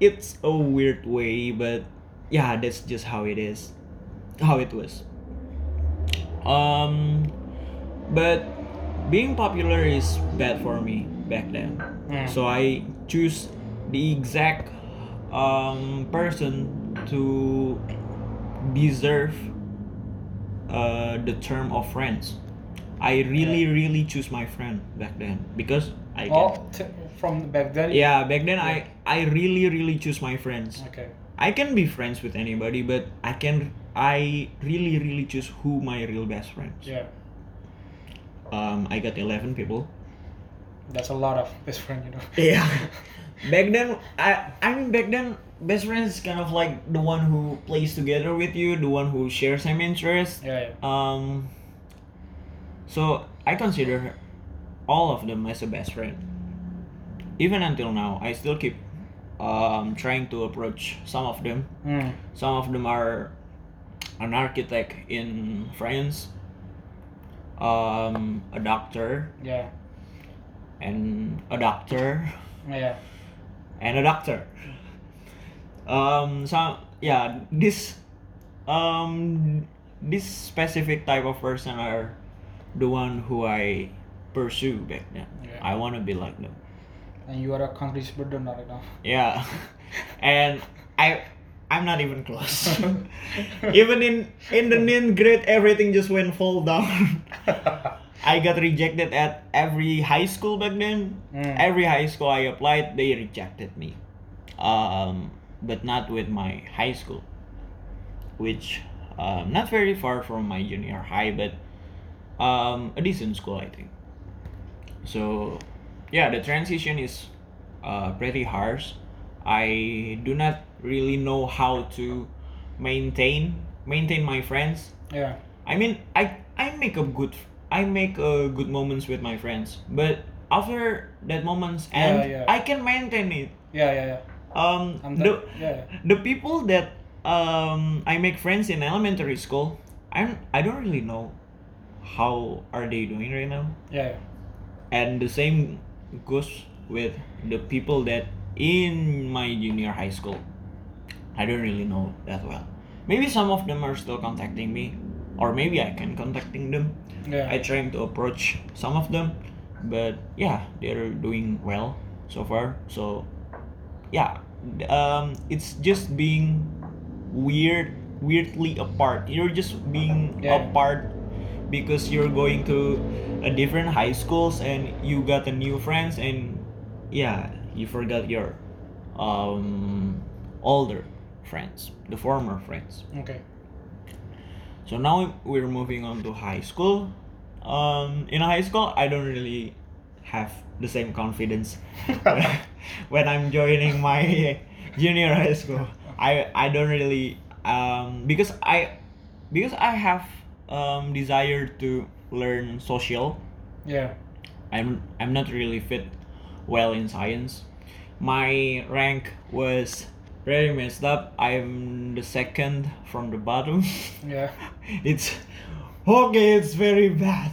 B: it's a weird way, but yeah, that's just how it is, how it was. Um, but being popular is bad for me back then.
A: Mm.
B: So I choose the exact um, person to deserve uh, the term of friends. I really, really choose my friend back then because I
A: Oh,
B: can.
A: t- from back then.
B: Yeah, back then I I really, really choose my friends.
A: Okay.
B: I can be friends with anybody, but I can I really, really choose who my real best friends.
A: Yeah.
B: Um, I got eleven people.
A: That's a lot of best friend, you know.
B: Yeah. [laughs] back then, I I mean back then, best friends is kind of like the one who plays together with you, the one who shares same interests.
A: Yeah. yeah.
B: Um. So I consider all of them as a best friend. Even until now, I still keep um trying to approach some of them.
A: Mm.
B: Some of them are an architect in France, um, a doctor,
A: Yeah.
B: and a doctor, [laughs]
A: Yeah.
B: and a doctor. Um, so yeah, this, um, this specific type of person are the one who I pursue back then.
A: Yeah.
B: I want to be like them.
A: And you are a country's burden right now.
B: Yeah, [laughs] and I. I'm not even close. even in in the ninth grade, everything just went fall down. I got rejected at every high school back then.
A: Mm.
B: Every high school I applied, they rejected me. Um, but not with my high school, which um, not very far from my junior high, but um, a decent school, I think. So, yeah, the transition is uh, pretty harsh. I do not really know how to maintain maintain my friends
A: yeah.
B: I mean, I I make a good I make uh, good moments with my friends, but after that moments
A: Yeah,
B: end,
A: yeah.
B: I can maintain it.
A: Yeah. Yeah. Yeah.
B: Um,
A: I'm
B: the
A: done. Yeah.
B: the people that um I make friends in elementary school, I'm I don't really know how are they doing right now,
A: Yeah.
B: and the same goes with the people that in my junior high school. I don't really know that well. Maybe some of them are still contacting me, or maybe I can contacting them.
A: Yeah.
B: I trying to approach some of them, but yeah, they're doing well so far. So yeah, um, it's just being weird, weirdly apart. You're just being
A: Yeah.
B: apart because you're going to a different high schools and you got a new friends and yeah, you forgot your um older friends, the former friends.
A: okay.
B: So now we're moving on to high school. Um, in high school, I don't really have the same confidence when I'm joining my junior high school. I I don't really um, because I because I have um, desire to learn social.
A: Yeah.
B: I'm I'm not really fit well in science. My rank was very messed up. I'm the second from the bottom. [laughs]
A: Yeah.
B: it's okay it's very bad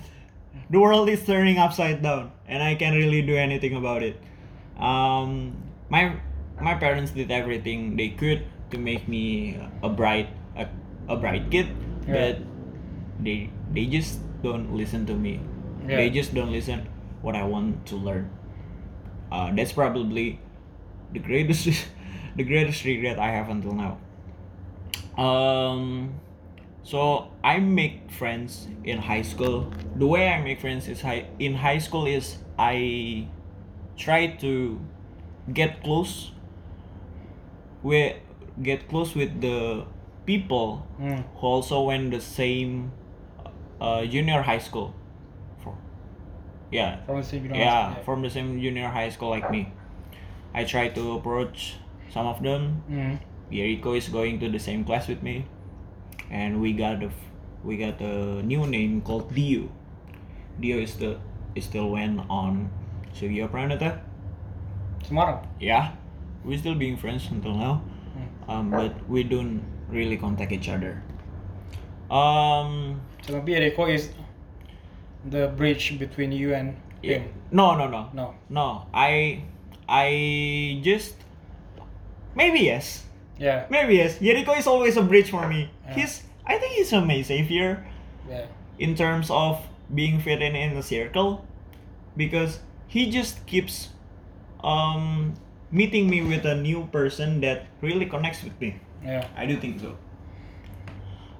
B: the world is turning upside down and i can't really do anything about it um my my parents did everything they could to make me a bright a, a bright kid
A: Yeah.
B: but they they just don't listen to me
A: Yeah.
B: they just don't listen what i want to learn uh, [laughs] that's probably the greatest the greatest regret i have until now Um, so I make friends in high school. The way I make friends is high in high school is I try to get close with get close with the people
A: Mm.
B: who also went the same uh, junior high school. For yeah,
A: From the same university.
B: yeah, from the same junior high school like me. I try to approach some of them.
A: Mm.
B: Yeriko is going to the same class with me, and we got a f- we got a new name called Dio. Dio is the is still went on Sugiya Pranata.
A: Tomorrow.
B: Yeah, we're still being friends until now, um, but we don't really contact each other. Um,
A: So maybe Eriko is the bridge between you and
B: yeah.
A: him.
B: no, no, no,
A: No.
B: no. I I just maybe yes.
A: Yeah.
B: Maybe yes. Jericho is always a bridge for me.
A: Yeah.
B: He's I think he's a my savior
A: Yeah.
B: in terms of being fit in in a circle because he just keeps um meeting me with a new person that really connects with me.
A: Yeah.
B: I do think so.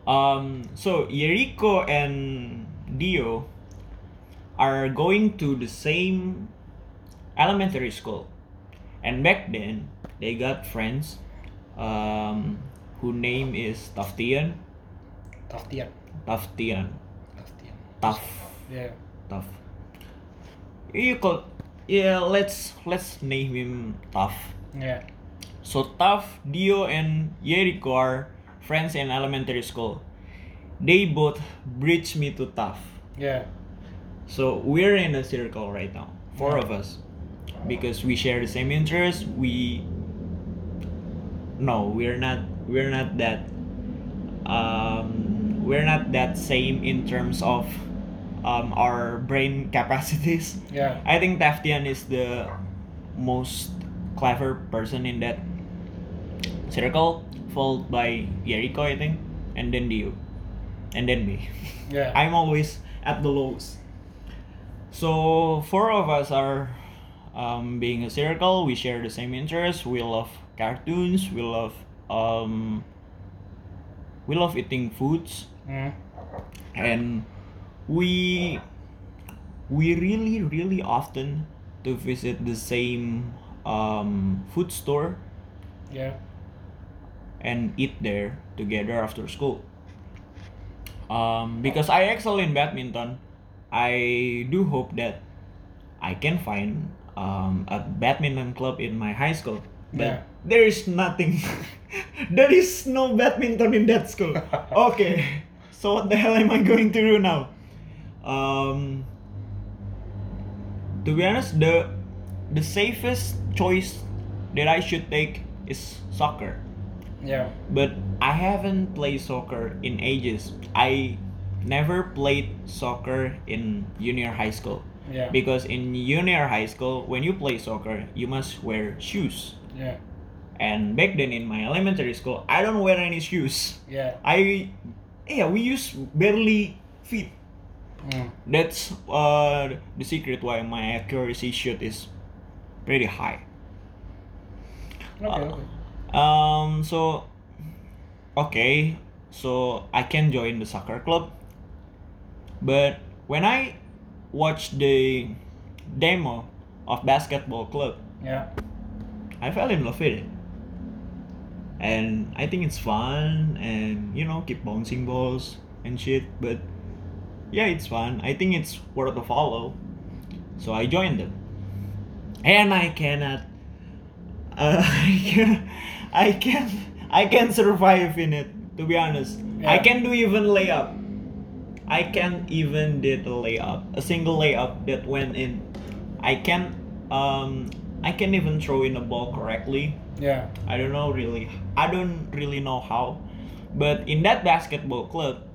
B: Um so Jericho and Dio are going to the same elementary school. And back then, they got friends um, who name is Taftian.
A: Taftian.
B: Taftian.
A: Taftian.
B: Taf.
A: Yeah.
B: Taf. You call yeah, let's let's name him Taf.
A: Yeah.
B: So Taf, Dio, and Jericho are friends in elementary school. They both bridge me to Taf.
A: Yeah.
B: So we're in a circle right now, four of us, because we share the same interests. We no, we're not. We're not that. Um, we're not that same in terms of um, our brain [laughs] capacities.
A: Yeah.
B: I think Taftian is the most clever person in that circle, followed by Jericho, I think, and then Dio, and then me. [laughs]
A: Yeah.
B: I'm always at the lows. So four of us are um, being a circle. We share the same interests. We love cartoons. We love um, we love eating foods,
A: Mm.
B: and we we really really often to visit the same um, food store
A: Yeah.
B: and eat there together after school. Um, because I excel in badminton, I do hope that I can find um, a badminton club in my high school. But
A: Yeah.
B: there is nothing. [laughs] there is no badminton in that school. okay, so what the hell am I going to do now? Um, to be honest, the the safest choice that I should take is soccer
A: Yeah.
B: but I haven't played soccer in ages. I never played soccer in junior high school
A: Yeah.
B: because in junior high school when you play soccer you must wear shoes
A: Yeah.
B: and back then in my elementary school I don't wear any shoes.
A: Yeah.
B: I yeah we use barely feet.
A: Mm.
B: That's uh the secret why my accuracy shoot is pretty high.
A: Okay.
B: Uh.
A: Okay.
B: Um, so okay, so I can join the soccer club, but when I watched the demo of basketball club,
A: Yeah.
B: I fell in love with it, and I think it's fun and you know keep bouncing balls and shit. But yeah, it's fun. I think it's worth a follow, so I joined them, and I cannot [laughs] uh, I can, I can, I can survive in it. To be honest,
A: Yeah.
B: I can do even layup. I can even did a layup, a single layup that went in. I can, um, I can even throw in a ball correctly.
A: Yeah.
B: I don't know really. I don't really know how, but in that basketball club,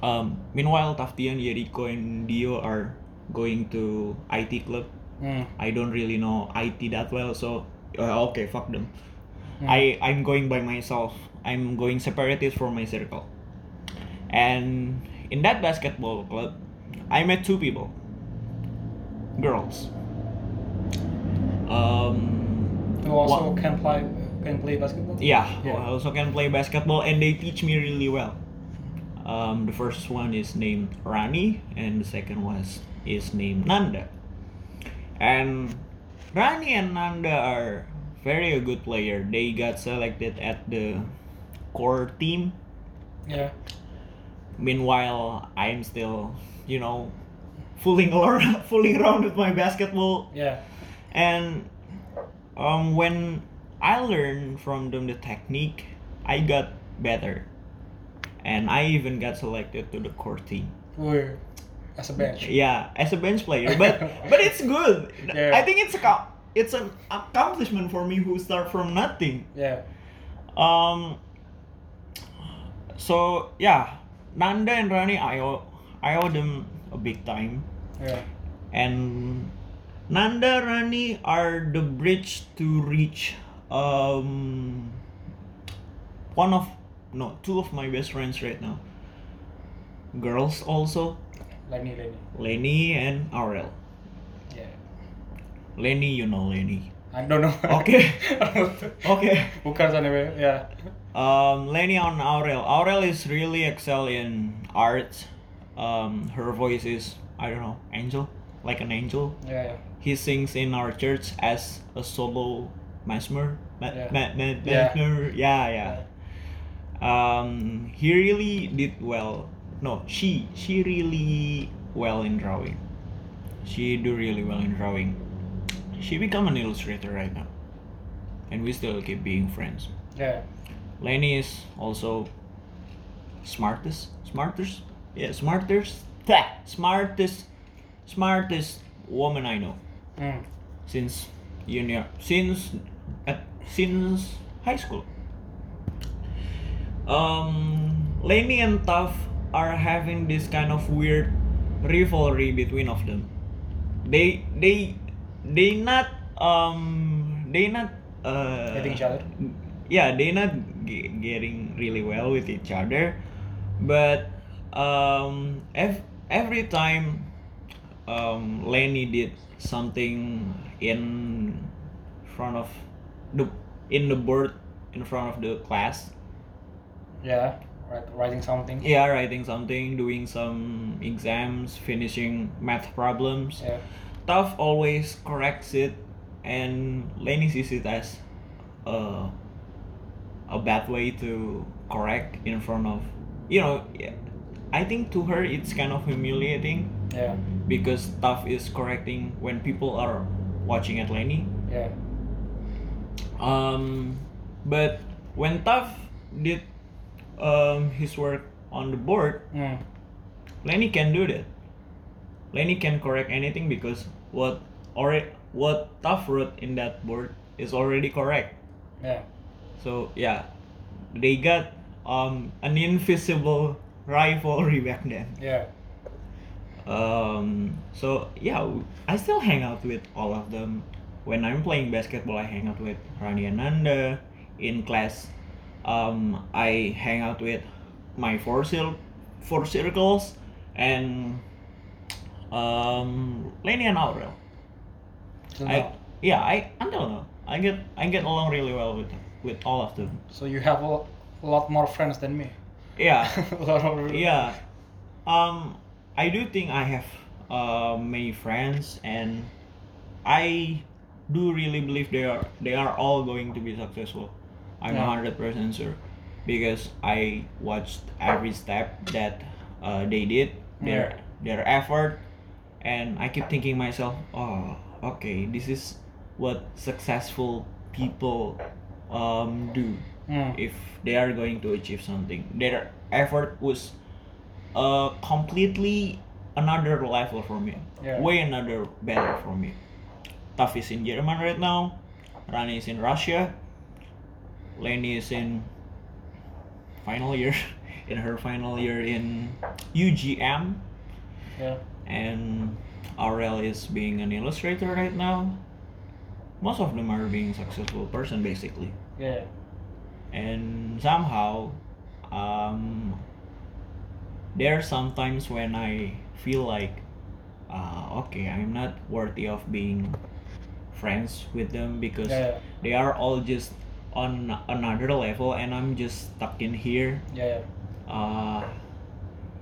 B: um, meanwhile Taftian, Jericho, and Dio are going to IT club.
A: Mm.
B: I don't really know IT that well, so uh, okay, fuck them.
A: Hmm.
B: I I'm going by myself. I'm going separated from my circle. And in that basketball club, I met two people, girls. Um,
A: Who also
B: What?
A: can play can play basketball?
B: Yeah,
A: Yeah.
B: I also can play basketball, and they teach me really well. Um, the first one is named Rani, and the second one is, is named Nanda. And Rani and Nanda are very good player. They got selected at the core team.
A: Yeah.
B: Meanwhile, I'm still, you know, fooling [laughs] around, fooling around with my basketball
A: Yeah.
B: and um, when I learned from them the technique, I got better, and I even got selected to the core team.
A: We're as a bench.
B: Yeah, as a bench player, but but it's good.
A: Yeah.
B: I think it's a co- it's an accomplishment for me who start from nothing.
A: Yeah.
B: Um. So yeah, Nanda and Rani, I owe I owe them a big time
A: Yeah.
B: and Nanda Rani are the bridge to reach um one of no two of my best friends right now. Girls also,
A: Lenny, Lenny.
B: Lenny and Aurel.
A: Yeah.
B: Lenny, you know Lenny.
A: I don't know. [laughs]
B: Okay. Okay.
A: Bukan anyway. Yeah.
B: [laughs] Um, Lenny on Aurel. Aurel is really excel in art. Um, her voice is I don't know angel, like an angel.
A: Yeah.
B: he sings in our church as a solo mesmer ma-
A: Yeah.
B: ma- ma-
A: Yeah.
B: mesmer yeah. yeah um he really did well no she she really well in drawing she do really well in drawing she become an illustrator right now and we still keep being friends
A: Yeah.
B: lenny is also smartest smartest yeah smartest Tah! smartest smartest woman i know
A: Mm.
B: since junior since at since high school um Lenny and Tuff are having this kind of weird rivalry between of them they they they not um they not uh
A: Getting each other?
B: yeah they not ge- getting really well with each other but um ev- every time um Lenny did something in front of the in the board in front of the class
A: Yeah. Right. Writing something.
B: yeah writing something doing some exams finishing math problems
A: Yeah.
B: Tuff always corrects it, and Lenny sees it as a, a bad way to correct in front of. You know, yeah, I think to her it's kind of humiliating
A: Yeah.
B: because Tuff is correcting when people are watching at Lenny.
A: Yeah.
B: Um, but when Tuff did um, his work on the board,
A: Mm.
B: Lenny can do that. Lenny can correct anything because what already what tough wrote in that board is already correct.
A: Yeah.
B: So yeah, they got um an invisible rivalry [laughs] back then.
A: Yeah.
B: Um, so yeah, I still hang out with all of them. When I'm playing basketball, I hang out with Rani Ananda. In class, um, I hang out with my four cir- four circles and um, Lenny and Aurel.
A: So,
B: I,
A: now-
B: yeah, I until now I get I get along really well with with all of them.
A: so you have a lo- lot more friends than me.
B: Yeah.
A: [laughs] a lot of
B: yeah um i do think i have uh, many friends and i do really believe they are they are all going to be successful i'm
A: Yeah.
B: 100% sure because i watched every step that uh, they did their their effort and i keep thinking myself oh okay this is what successful people um, do
A: Mm.
B: if they are going to achieve something. Their effort was uh, completely another level for me.
A: Yeah.
B: Way another better for me. Taf is in German right now. Rani is in Russia. Lenny is in final year, [laughs] in her final year in UGM,
A: Yeah.
B: and Aurel is being an illustrator right now. Most of them are being successful person basically
A: Yeah.
B: and somehow um, there are some times when I feel like uh, okay I'm not worthy of being friends with them because
A: Yeah.
B: they are all just on another level and I'm just stuck in here
A: yeah, yeah.
B: uh,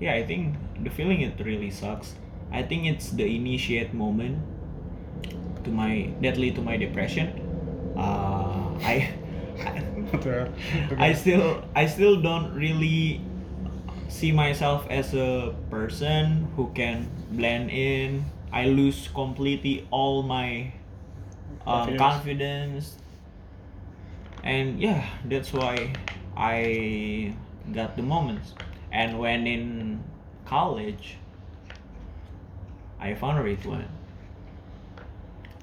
B: yeah i think the feeling it really sucks i think it's the initiate moment to my that lead to my depression uh, I, [laughs]
A: Okay.
B: I still i still don't really see myself as a person who can blend in i lose completely all my um, confidence and yeah that's why i got the moments and when in college i found Ridwan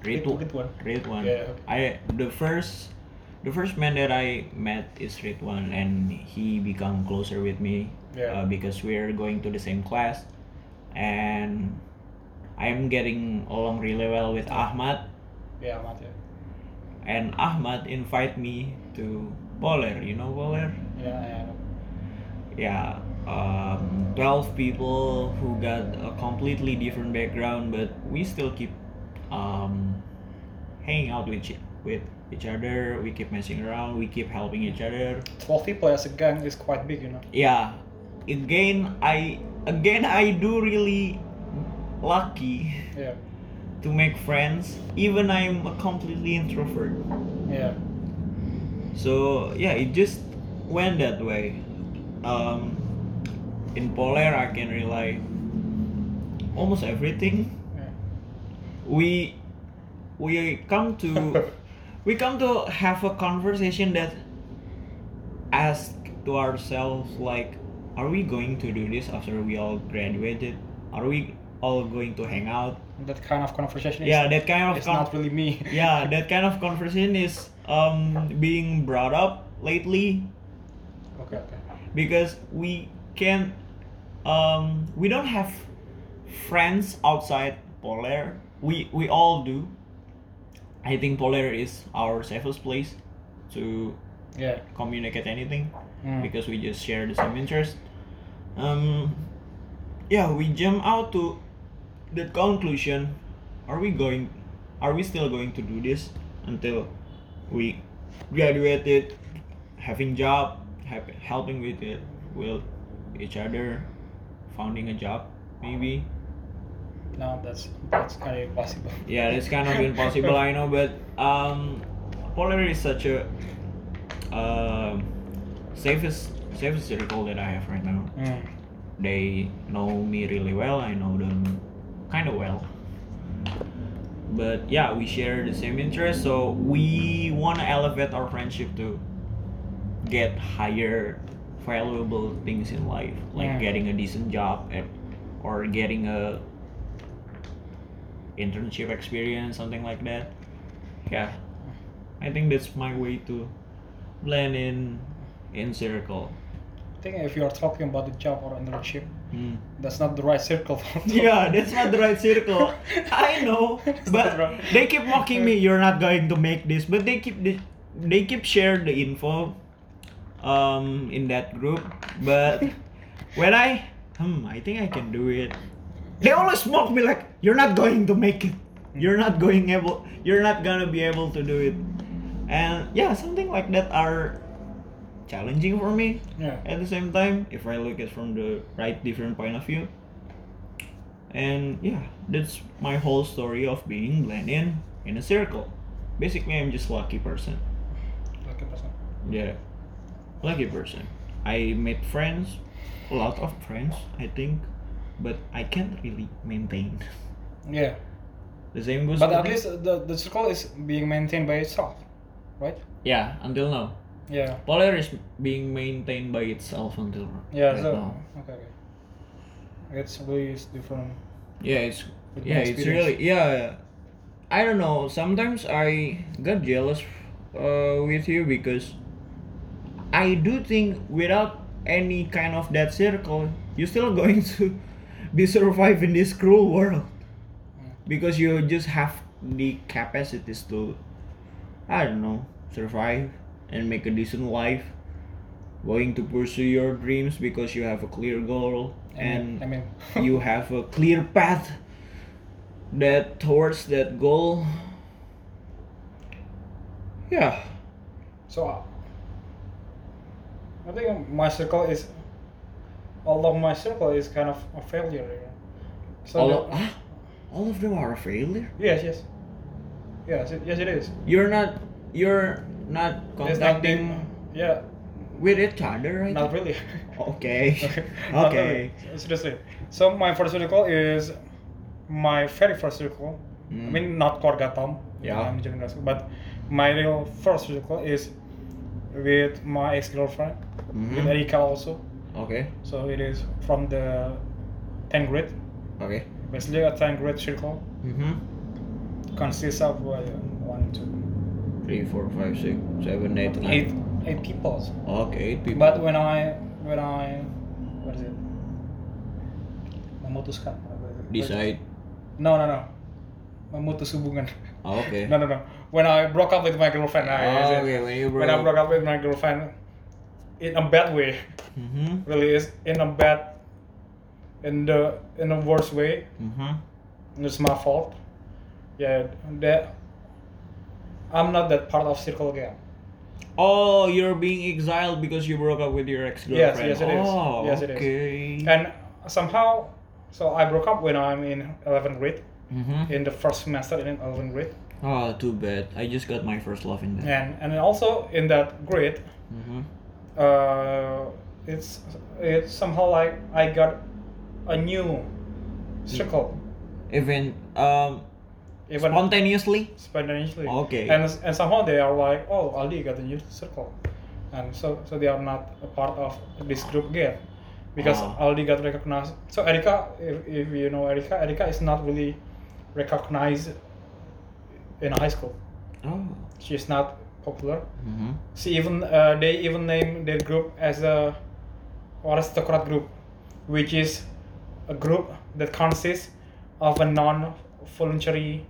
B: Ridwan
A: one.
B: Ridwan
A: Yeah.
B: I the first the first man that I met is Ridwan and he become closer with me
A: Yeah.
B: uh, because we're going to the same class and I'm getting along really well with Ahmad
A: Yeah, Ahmad, yeah.
B: and Ahmad invite me to Boler. You know Boler?
A: Yeah, yeah, I know.
B: Yeah, um, twelve people who got a completely different background, but we still keep um, hanging out with each- with each other. We keep messing around. We keep helping each other.
A: 12 people as a gang is quite big, you know.
B: Yeah, again I again I do really lucky
A: Yeah,
B: to make friends. Even I'm a completely introvert.
A: yeah,
B: So yeah, it just went that way. Um, in Polar, I can rely almost everything.
A: yeah.
B: We we come to we come to have a conversation that ask to ourselves like, are we going to do this after we all graduated? Are we all going to hang out?
A: That kind of conversation is,
B: Yeah, that kind of
A: it's
B: con-
A: not really me.
B: [laughs] yeah, that kind of conversation is um being brought up lately
A: Okay, okay.
B: because we can um we don't have friends outside polar we we all do i think polar is our safest place to
A: Yeah.
B: communicate anything
A: Mm.
B: because we just share the same interest um yeah we jump out to the conclusion are we going are we still going to do this until we graduated having job hap- helping with it with each other founding a job maybe
A: No, that's that's kind of impossible.
B: yeah that's kind of impossible
A: [laughs]
B: i know but um polar is such a um safest safest circle that i have right now
A: Mm.
B: they know me really well i know them kind of well but yeah we share the same interest so we want to elevate our friendship to get higher valuable things in life like
A: Yeah.
B: getting a decent job at, or getting a internship experience something like that yeah i think that's my way to blend in in circle
A: I think if you are talking about the job or internship,
B: Hmm.
A: that's not the right circle for
B: [laughs] Yeah, that's not the
A: [laughs]
B: right circle. I know,
A: not right.
B: but they keep mocking me. You're not going to make this, but they keep this, they keep share the info, um, in that group. But when I hmm, I think I can do it. They always mock me like you're not going to make it. You're not going able. You're not gonna be able to do it. And yeah, something like that are challenging for me
A: Yeah.
B: at the same time if i look at from the right different point of view and yeah that's my whole story of being blend in in a circle basically i'm just lucky person
A: Okay, that's not-
B: yeah lucky person i made friends a lot of friends i think but i can't really maintain [laughs]
A: Yeah.
B: the same goes
A: But
B: for
A: at
B: me.
A: least the, the circle is being maintained by itself, right?
B: yeah until now
A: Yeah.
B: polar is being maintained by itself until
A: Yeah.
B: right
A: so
B: now.
A: okay, okay. It's really is different.
B: yeah it's
A: with my
B: yeah it's
A: experience.
B: really yeah i don't know sometimes i got jealous uh, with you because i do think without any kind of that circle you're still going to [laughs] be survive in this cruel world
A: Hmm.
B: because you just have the capacities to i don't know survive and make a decent life going to pursue your dreams because you have a clear goal and
A: I mean, [laughs] I mean
B: you have a clear path that towards that goal yeah
A: So uh, I think my circle is, although my circle is kind of a failure. You know? So
B: all,
A: the-
B: ah, all of them are a failure.
A: yes, yes, yes, it, yes, it is.
B: You're not. You're not
A: There's nothing-
B: contacting
A: Yeah,
B: with each other, right?
A: not
B: [laughs]
A: really. [laughs]
B: Okay. [laughs]
A: Not
B: Oh. okay.
A: really. Seriously. So my first circle is my very first circle. I
B: Mm.
A: mean, not Korga Tom.
B: Yeah.
A: I'm joining that school, but my real first circle is with my ex girlfriend, with
B: Mhm.
A: Erika also.
B: Okay.
A: So it is from the 10th grade.
B: Okay.
A: Basically, a 10th grade circle
B: Mm-hmm.
A: consists of uh, one, two,
B: Three, four, five, six, seven, eight, nine.
A: eight, eight people.
B: Okay, eight people.
A: But when I, when I, what is it? Memutuskan.
B: decide.
A: No, no, no. Memutus hubungan.
B: Oh, okay.
A: [laughs] No, no, no. When I broke up with my girlfriend, I,
B: Oh, okay, when you
A: Ah, when I broke up with my girlfriend, in a bad way, [laughs]
B: Mm-hmm.
A: really is in a bad, in the in a worse way.
B: Mm-hmm.
A: It's my fault. Yeah, that I'm not that part of circle again.
B: Oh, you're being exiled because you broke up with your
A: Yes,
B: ex-girlfriend.
A: yes, it is.
B: Oh,
A: Yes, it is.
B: okay.
A: And somehow, so I broke up when I'm in 11th grade,
B: Mm-hmm.
A: in the first semester in 11th grade,
B: Oh, too bad. I just got my first love in that.
A: and and also in that grade,
B: Mm-hmm.
A: uh, it's it's somehow like I got a new circle,
B: Even um,
A: even
B: spontaneously.
A: spontaneously.
B: Okay.
A: And and somehow they are like, oh, Ali got a new circle, and so so they are not a part of this group again, because
B: Ah.
A: Aldi got recognized. So Erika, if, if you know Erika, Erika is not really recognized in high school.
B: Oh.
A: She's not popular.
B: Mm-hmm.
A: She even uh, they even name their group as a aristocrat group, which is a group that consists of a non-voluntary,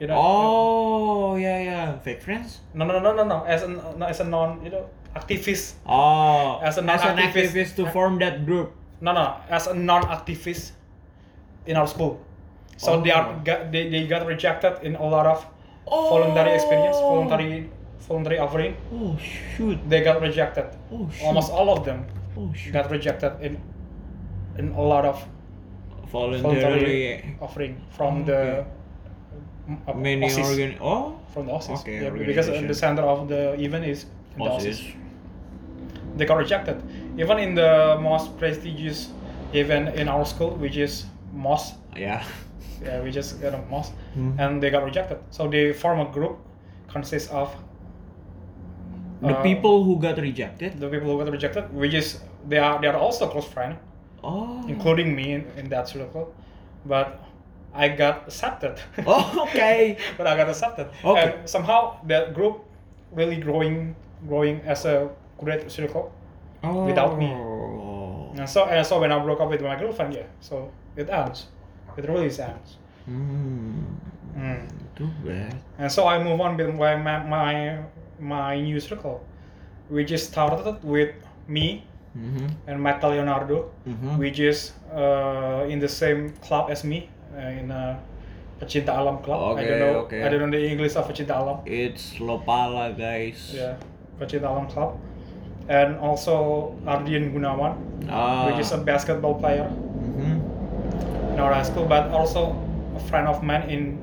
A: you know.
B: Oh, yeah, yeah. Fake friends.
A: No, no, no, no, no. As a no, as a non, you know, activist.
B: Oh,
A: As a
B: an
A: non-activist-
B: activist to form that group.
A: No, no. As a non-activist in our school. So they are
B: Oh.
A: got, they, they got rejected in a lot of
B: Oh.
A: voluntary experience, voluntary voluntary offering.
B: Oh shoot.
A: They got rejected.
B: Oh shoot.
A: Almost all of them
B: Oh shoot.
A: got rejected in in a lot of
B: Voluntarily.
A: offering from
B: Okay.
A: the mm, uh,
B: Many
A: OSIS,
B: organ. Oh.
A: from the OSIS.
B: Okay,
A: yeah, because
B: organization.
A: the center of the event is in the
B: Bosses.
A: OSIS. they got rejected. Even in the most prestigious event in our school, which is MOS,
B: Yeah.
A: yeah, we just got a MOS,
B: Mhm.
A: and they got rejected. So they form a group consists of
B: The
A: uh,
B: people who got rejected.
A: the people who got rejected, which is they are they are also close friend,
B: Oh.
A: including me in, in that circle, but I got accepted.
B: Oh, [laughs] okay.
A: [laughs] but I got accepted.
B: Okay.
A: And somehow that group really growing, growing as a great circle.
B: Oh.
A: without me. And so and so when I broke up with my girlfriend, yeah. So it ends. It really is ends.
B: Hmm.
A: Mm.
B: Too bad.
A: And so I move on with my, my my my new circle, which is started with me
B: Mm-hmm.
A: and Michael Leonardo,
B: Mm-hmm.
A: which is uh, in the same club as me uh, in a Pecinta Alam club. I
B: Okay,
A: don't know.
B: okay.
A: I don't know the English of Pecinta Alam.
B: It's Lopala, guys.
A: Yeah, Pecinta Alam club, and also Ardian Gunawan,
B: Ah.
A: which is a basketball player.
B: Mhm.
A: in our high school, but also a friend of mine in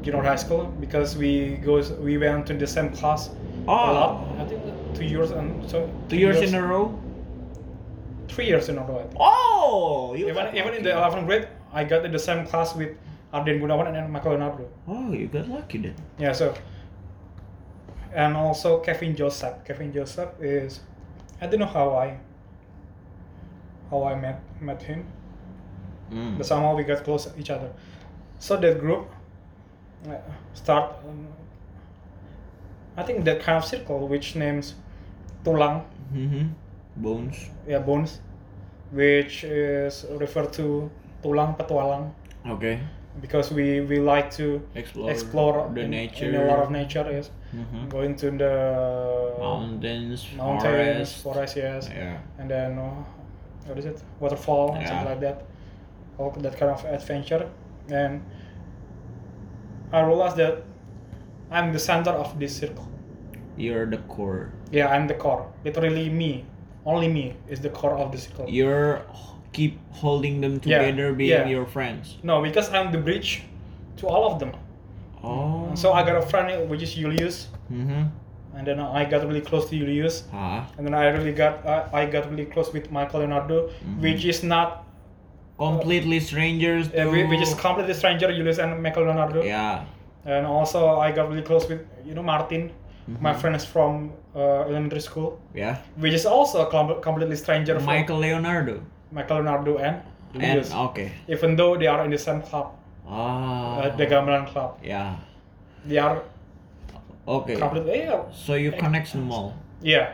A: junior high school because we goes we went to the same class
B: Oh.
A: a lot. I think two years and so
B: Two years in a row.
A: three years in a row. I think.
B: Oh. You
A: Even
B: got
A: even in the
B: lucky.
A: 11th grade, I got in the same class with Arden Gunawan and Michael Leonardo.
B: Oh, you got lucky then.
A: Yeah, so and also Kevin Joseph. Kevin Joseph is I don't know how I how I met met him.
B: Mm.
A: but somehow we got close to each other so that group uh, start um, i think that kind of circle which names tulang
B: Mm-hmm. Bones.
A: yeah bones which is referred to tulang petualang
B: Okay.
A: because we we like to
B: Explore.
A: explore
B: the
A: in,
B: nature.
A: in a lot of nature yes
B: Mhm.
A: going to the
B: Mountains.
A: mountains forest
B: forest.
A: yes
B: Yeah.
A: and then uh, what is it waterfall and something
B: Yeah.
A: like that all that kind of adventure and i realized that i'm the center of this circle
B: You're the core.
A: Yeah, I'm the core. Literally me. Only me is the core of the circle.
B: You're h- keep holding them
A: Yeah,
B: together, being
A: yeah.
B: your friends.
A: No, because I'm the bridge to all of them.
B: Oh.
A: Mm-hmm. So I got a friend which is Julius,
B: Mm-hmm.
A: and then I got really close to Julius,
B: Ah.
A: and then I really got I, I got really close with Michael Leonardo,
B: Mm-hmm.
A: which is not
B: Completely strangers
A: uh,
B: to.
A: whi- which is completely stranger Julius and Michael Leonardo.
B: Yeah.
A: And also I got really close with you know Martin, my friend is from uh, elementary school,
B: Yeah.
A: which is also a com- completely stranger
B: Michael Leonardo.
A: from Michael Leonardo and
B: And
A: Julius,
B: okay.
A: even though they are in the same club,
B: Ah.
A: uh, the Gamelan club.
B: yeah.
A: They are
B: Okay.
A: completely yeah,
B: So you connect them all.
A: Yeah,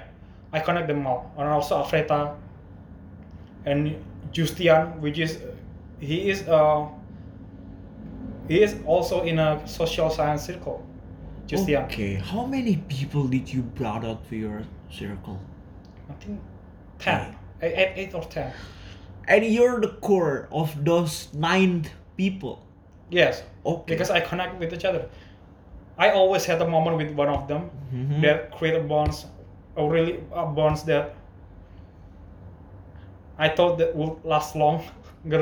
A: I connect them all. And also Afreta and Justian, which is he is uh he is also in a social science circle. Justian,
B: Okay. How many people did you brought out to your circle?
A: I think ten, eight, eight, eight or ten.
B: And you're the core of those nine people.
A: Yes,
B: Okay.
A: because I connect with each other. I always had a moment with one of them
B: Mhm.
A: that create a bonds, a really a bonds that I thought that would last longer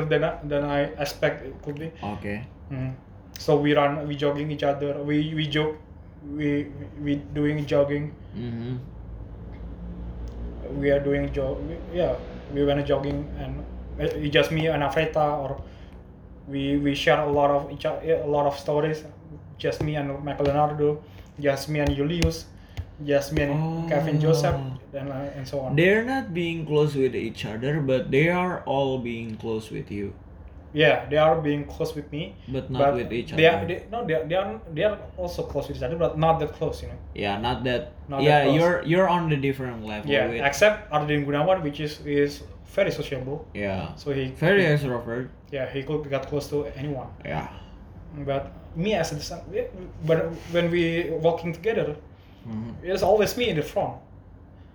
A: [laughs] than I- than I expect it could be.
B: Okay.
A: Mm. So we run, we jogging each other. We we jog, we we doing jogging.
B: Mm-hmm.
A: We are doing jog. Yeah, we went jogging and it- it's just me and Afreta or we we share a lot of each o- a lot of stories. Just me and Michael Leonardo, just me and Julius, just me and
B: Oh.
A: Kevin Joseph, and uh, and so on.
B: They're not being close with each other, but they are all being close with you,
A: yeah, they are being close with me, but
B: but not with each
A: they
B: other.
A: are they, no they are, they are they are also close with each other, but not that close, you know.
B: yeah, not that.
A: Not that
B: yeah,
A: close.
B: you're you're on the different level.
A: Yeah,
B: With,
A: except Arden Gunawan, which is is very sociable.
B: yeah.
A: So he
B: Very extrovert.
A: yeah he could get close to anyone.
B: Yeah.
A: But me as a son- we- but when we walking together,
B: Mhm.
A: it's always me in the front.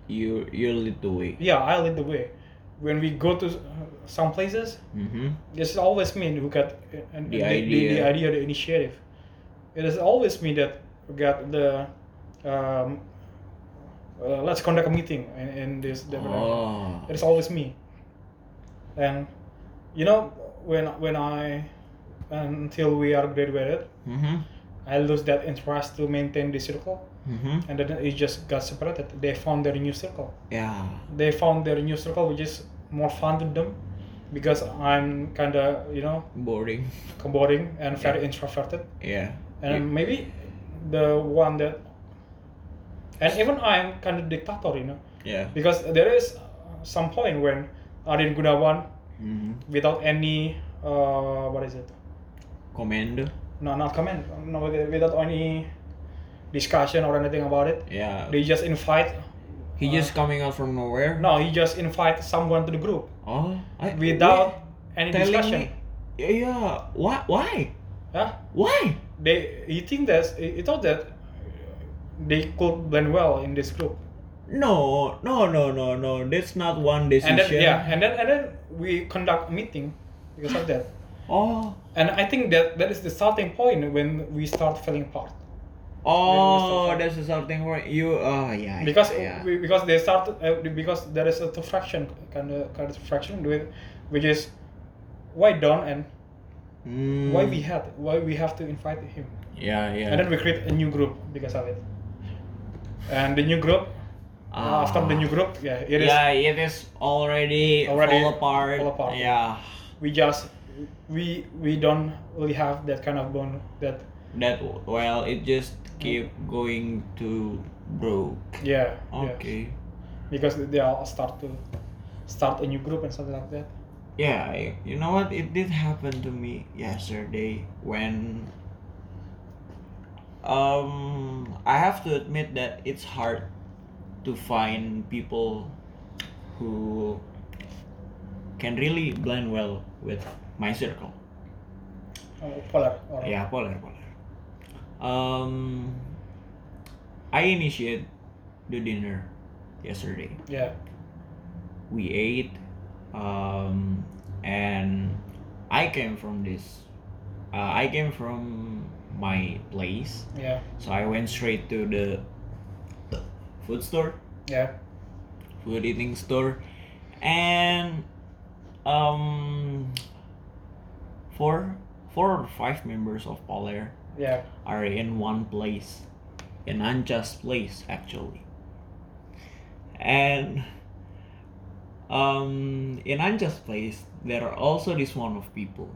B: You you lead the way.
A: Yeah, I lead the way. When we go to uh, some places,
B: Mm-hmm.
A: it's always me who got uh, and the,
B: The
A: The, the
B: idea.
A: idea, the initiative. It is always me that got the. Um, uh, let's conduct a meeting in, in this.
B: Oh.
A: it's always me and you know when when i until we are graduated
B: Mm-hmm.
A: i lose that interest to maintain the circle
B: Mm-hmm.
A: and then it just got separated they found their new circle
B: Yeah.
A: they found their new circle which is more fun to them because i'm kind of you know
B: Boring. [laughs]
A: boring and very introverted
B: Yeah.
A: and maybe the one that and even i'm kind of dictator you know
B: yeah.
A: because there is uh, some point when Arin Gunawan
B: Mm-hmm.
A: without any uh, what is it?
B: Commando.
A: No, not comment. No, with- without any discussion or anything about it.
B: Yeah.
A: They just invite.
B: he just coming out from nowhere.
A: No, he just invite someone to the group
B: Oh. I,
A: without any
B: telling
A: discussion.
B: me. Yeah, yeah. Why? Why?
A: Huh?
B: Why?
A: They he think that he he thought that they could blend well in this group.
B: No, no, no, no, no. That's not one decision.
A: And then yeah, and then and then we conduct a meeting because of that.
B: Oh,
A: And I think that that is the starting point when we start falling apart.
B: oh, that's something for you. Oh, yeah.
A: because
B: yeah.
A: we, because they start uh, because there is a two fraction kind of kind of fraction with which is why Don and
B: Mm,
A: why we had why we have to invite him
B: Yeah, yeah.
A: and then we create a new group because of it and the new group uh,
B: Ah.
A: after the new group yeah it is
B: yeah, it is already,
A: Already
B: fall apart.
A: fall apart.
B: Yeah,
A: we just we we don't really have that kind of bond that
B: that well, it just keep going to broke.
A: yeah yeah
B: Okay.
A: because they all start to start a new group and something like that
B: Yeah, I- you know what? It did happen to me yesterday when um I have to admit that it's hard to find people who can really blend well with my circle.
A: uh, polar or
B: Yeah, polar, polar. Um I initiate the dinner yesterday
A: yeah
B: we ate um, and i came from this uh, i came from my place
A: yeah
B: so i went straight to the food store,
A: Yeah.
B: food eating store, and um, four, four or five members of Polair
A: Yeah.
B: are in one place, an unjust place actually. And um, in unjust place, there are also this one of people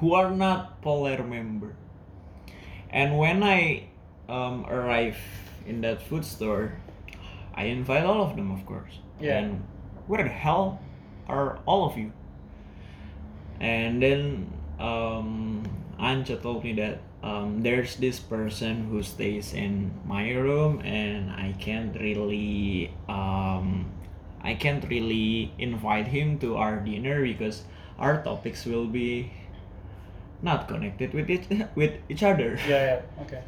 B: who are not Polar member. And when I um, arrive in that food store, I invite all of them, of course.
A: Yeah.
B: And where the hell are all of you? And then um, Anja told me that um, there's this person who stays in my room, and I can't really um, I can't really invite him to our dinner because our topics will be not connected with each [laughs] with each other.
A: Yeah. Yeah. Okay.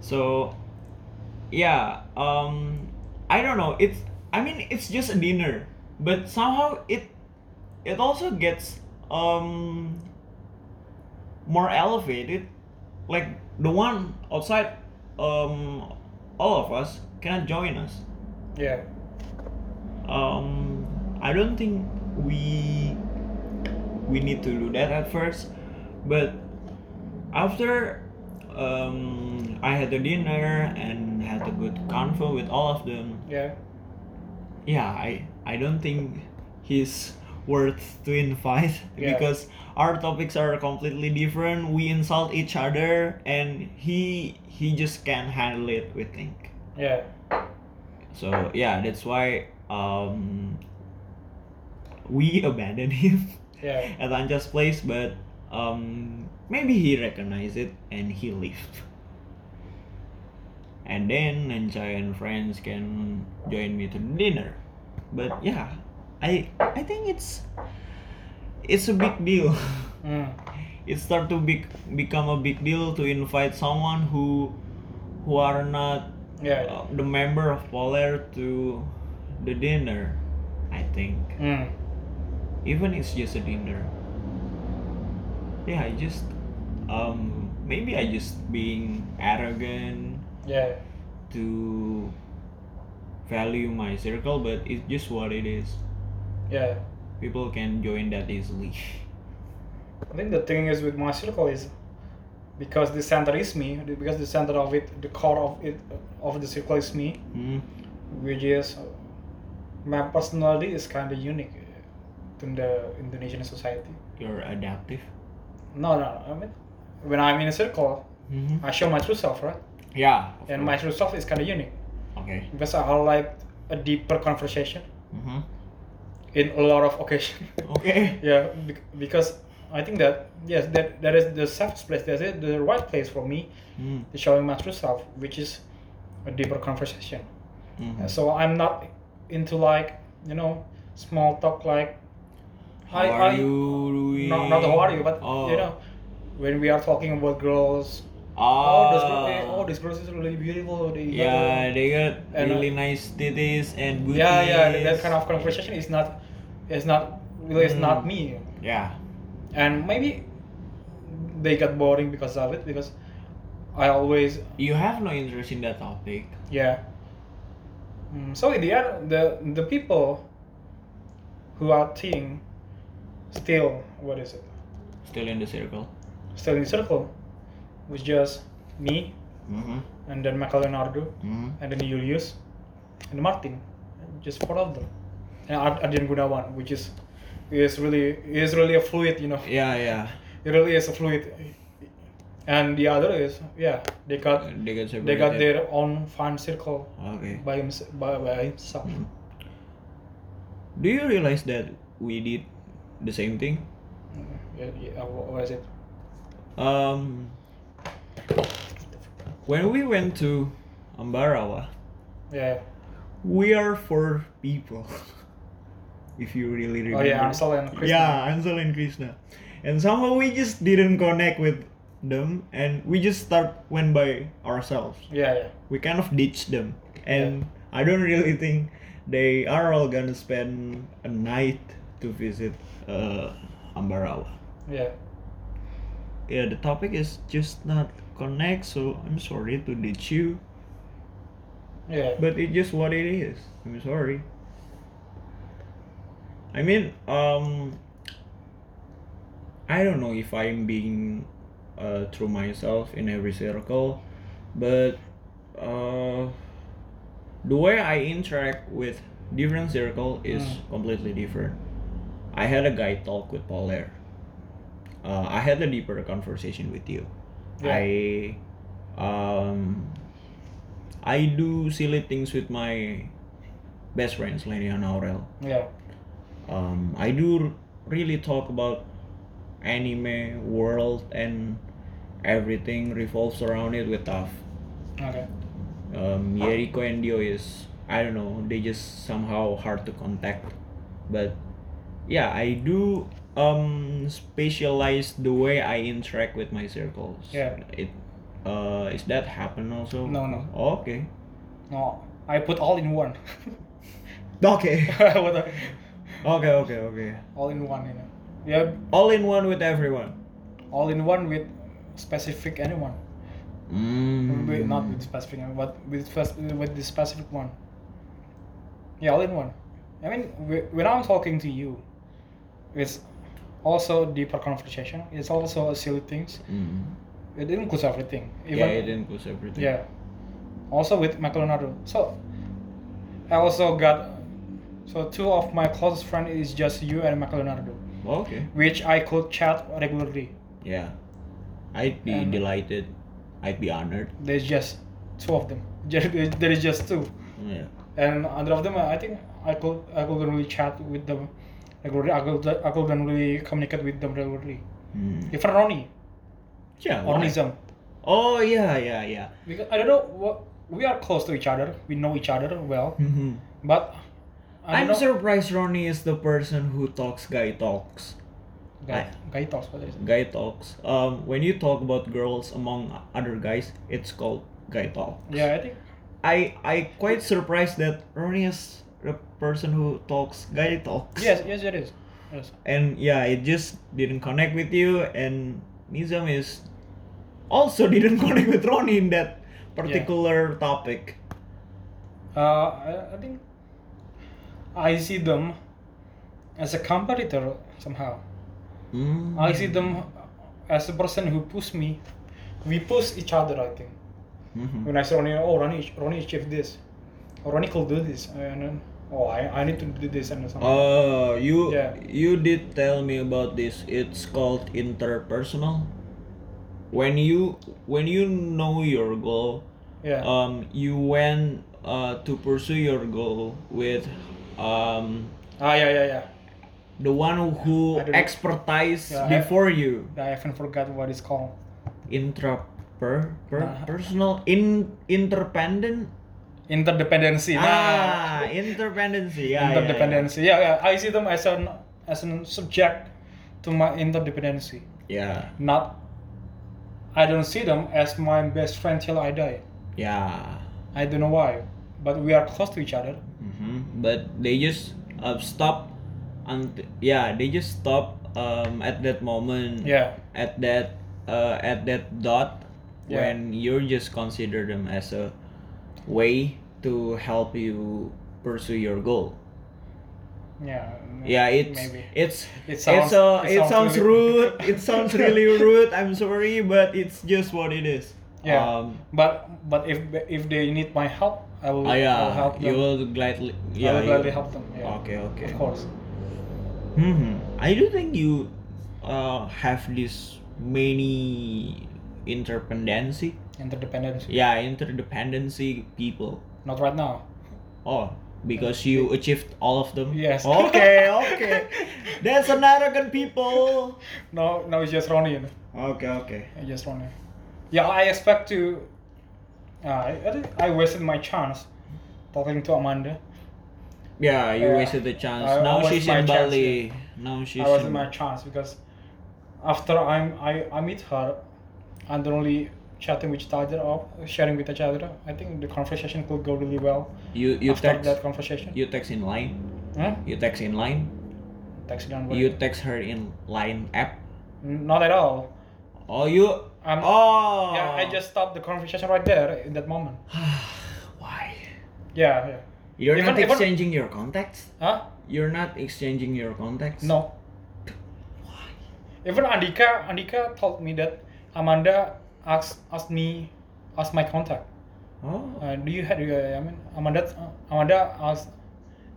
B: So, yeah, um, I don't know. It's I mean it's just a dinner, but somehow it it also gets um more elevated. Like the one outside, um, all of us cannot join us.
A: Yeah.
B: Um, I don't think we we need to do that at first, but after um, I had a dinner and had a good convo with all of them,
A: Yeah.
B: yeah, I I don't think he's worth to invite [laughs]
A: Yeah.
B: because our topics are completely different. We insult each other, and he he just can't handle it. We think.
A: Yeah.
B: So yeah, that's why um, we [laughs] abandoned him
A: Yeah.
B: at Anja's place, but um, maybe he recognized it and he left. And then Anjay and friends can join me to dinner. But yeah, I I think it's it's a big deal. [laughs]
A: Mm.
B: it start to be, become a big deal to invite someone who who are not
A: Yeah.
B: uh, the member of Polar to the dinner, I think.
A: Mm.
B: Even it's just a dinner. Yeah, I just um maybe I just being arrogant
A: Yeah.
B: to value my circle, but it's just what it is.
A: Yeah.
B: People can join that easily.
A: I think the thing is with my circle is because the center is me, because the center of it, the core of it, of the circle is me,
B: Hmm.
A: which is my personality is kind of unique to the Indonesian society.
B: You're adaptive.
A: No, no, I mean, when I'm in a circle,
B: hmm
A: I show my true self, right?
B: Yeah. of
A: Mm-hmm. And my
B: course.
A: true self is kind of unique
B: okay.
A: because I have like a deeper conversation
B: hmm
A: in a lot of occasions.
B: Okay.
A: [laughs] yeah, bec- because I think that yes, that that is the soft place. That is the right place for me
B: Mm.
A: to showing my true self, which is a deeper conversation.
B: Mhm.
A: So I'm not into like you know small talk like
B: How are you doing?
A: not not how are you, but
B: oh.
A: you know when we are talking about girls.
B: Oh,
A: Oh, this girl, eh, oh, this girl is really beautiful. They got
B: Yeah, they got
A: And, uh,
B: really nice titties
A: a-
B: and booties.
A: yeah, yeah. that- That kind of conversation is not, is not really is not
B: Mm.
A: me.
B: Yeah.
A: and maybe they got boring because of it because i always
B: You have no interest in that topic.
A: yeah Mm, so in the end the the people who are teeing still what is it
B: Still in the circle.
A: still in the circle was just me
B: Mm-hmm.
A: and then michael leonardo
B: hmm
A: and then julius and martin just four of them and Ar- Ardian Gunawan, which is is really is really a fluid you know
B: Yeah, yeah.
A: it really is a fluid and the other is yeah they got
B: They got separated.
A: they got their own fan circle
B: Okay.
A: by himself by, by himself
B: Mm. Do you realize that we did the same thing?
A: yeah, yeah, uh, what what is it
B: Um. When we went to Ambarawa,
A: yeah
B: we are four people. [laughs] if you really
A: oh
B: remember.
A: yeah Ansel and Chris
B: Yeah, Ansel and Krishna. And somehow we just didn't connect with them and we just start went by ourselves.
A: yeah yeah
B: We kind of ditched them. And I don't really think they are all gonna spend a night to visit uh, Ambarawa.
A: yeah
B: Yeah, the topic is just not connect, so I'm sorry to ditch you.
A: Yeah.
B: But it's just what it is. I'm sorry. I mean, um, I don't know if I'm being uh, true myself in every circle, but uh, the way I interact with different circle is
A: Mm.
B: completely different. I had a guy talk with Paul there. Uh, I had a deeper conversation with you.
A: Yeah.
B: I um I do silly things with my best friends Lenny and Aurel.
A: Yeah.
B: Um, I do really talk about anime world and everything revolves around it with Taf.
A: Okay.
B: Um, Yeriko and Dio is I don't know they just somehow hard to contact, but yeah I do um specialize the way I interact with my circles.
A: Yeah.
B: It uh is that happen also?
A: No, no.
B: Okay.
A: No, I put all in one. [laughs]
B: Okay. [laughs]
A: What the-
B: okay. Okay. Okay.
A: all in one, you know. Yeah,
B: All in one with everyone.
A: all in one with specific anyone.
B: Mm.
A: With, not with specific, anyone, but with first with the specific one. Yeah, all in one. I mean, whe- when I'm talking to you, it's also deeper conversation. It's also silly things.
B: Mm.
A: It includes everything.
B: yeah, it includes everything.
A: Yeah. Also with Michelonado. So I also got so two of my closest friend is just you and Michelonado,
B: Okay.
A: which I could chat regularly.
B: Yeah. I'd be
A: And-
B: delighted. I'd be honored.
A: There's just two of them. [laughs] Just- There is just two,
B: Yeah.
A: and other of them I think I could I could really chat with them regularly. I could I could really communicate with them regularly.
B: Mm.
A: Even Ronnie,
B: Yeah. why?
A: Ronnism,
B: Oh yeah, yeah, yeah.
A: because I don't know what we are close to each other. We know each other well,
B: Mhm.
A: but I
B: I'm
A: don't know.
B: surprised Ronnie is the person who talks guy talks.
A: Guy, guy talks what is it?
B: Guy talks. Um, when you talk about girls among other guys, it's called guy talk.
A: Yeah, I think
B: I I quite surprised that Ronnie is the person who talks guy talks.
A: Yes, yes, it is. Yes.
B: And yeah, it just didn't connect with you. And Nizam is also [laughs] didn't connect with Ronnie in that particular topic.
A: Uh, I, I think I see them as a competitor somehow.
B: Mm.
A: I see them as a person who push me. We push each other, I think.
B: Mhm.
A: When I say Ronnie, oh, Ronnie, Ronnie achieved this. Or Ronnie could do this. And then, oh, I, I need to do this and something.
B: Uh, you
A: Yeah.
B: you did tell me about this. It's called interpersonal. When you when you know your goal,
A: yeah.
B: um, you went uh, to pursue your goal with um,
A: ah, yeah, yeah, yeah.
B: the one who
A: I don't-
B: expertise
A: Yeah, I-
B: before you.
A: I even forgot what it's called.
B: Intra per, per
A: Nah.
B: personal in interdependent.
A: Interdependency. Nah.
B: Ah, interdependency. Yeah, yeah, yeah.
A: interdependency. Yeah, yeah. I see them as an as an subject to my interdependency.
B: Yeah,
A: Not. I don't see them as my best friend till I die.
B: yeah.
A: I don't know why, but we are close to each other.
B: hmm But they just uh, stop, and yeah, they just stop um, at that moment.
A: Yeah.
B: At that uh, at that dot
A: Yeah.
B: when you just consider them as a way to help you pursue your goal.
A: Yeah.
B: Yeah, it's
A: Mm, maybe.
B: it's
A: It
B: it's a,
A: sounds-
B: it,
A: it sounds
B: sounds,
A: [laughs] really-
B: rude. it sounds really rude. I'm sorry, but it's just what it is.
A: Yeah.
B: Um,
A: but but if if they need my help, I will,
B: ah,
A: I will
B: yeah,
A: help
B: you
A: them.
B: will gladly. Yeah,
A: I will
B: you-
A: gladly help them. Yeah.
B: Okay, okay.
A: Of course.
B: hmm I do think you uh, have this many interdependency.
A: Interdependency.
B: Yeah, interdependency people.
A: Not right now.
B: Oh, because you achieved all of them.
A: Yes.
B: [laughs] Okay, okay.
A: [laughs]
B: That's an arrogant people.
A: No, no, it's just Ronnie. You know?
B: Okay, okay.
A: I just want to. Yeah, I expect to. Uh, I, I think I wasted my chance talking to Amanda.
B: Yeah, you
A: Yeah.
B: wasted the chance.
A: I- I
B: now
A: wasted
B: she's
A: my
B: in
A: chance,
B: Bali. Now she's
A: I wasted
B: in.
A: my chance because after I'm, I I meet her, and then only chatting with each other or sharing with each other. I think the conversation could go really well
B: You you
A: after
B: text
A: that conversation.
B: you text in line.
A: huh?
B: You text in line.
A: Text down.
B: You text her in line app.
A: Not at all.
B: Oh, you.
A: I'm.
B: Oh.
A: Yeah, I just stopped the conversation right there in that moment.
B: [sighs] Why?
A: Yeah, yeah.
B: You're
A: Even-
B: not
A: even-
B: exchanging your contacts.
A: Huh?
B: You're not exchanging your contacts.
A: No. Even Andika, Andika told me that Amanda asked asked me asked my contact.
B: Oh.
A: Uh, do you had? Uh, I mean, Amanda Amanda asked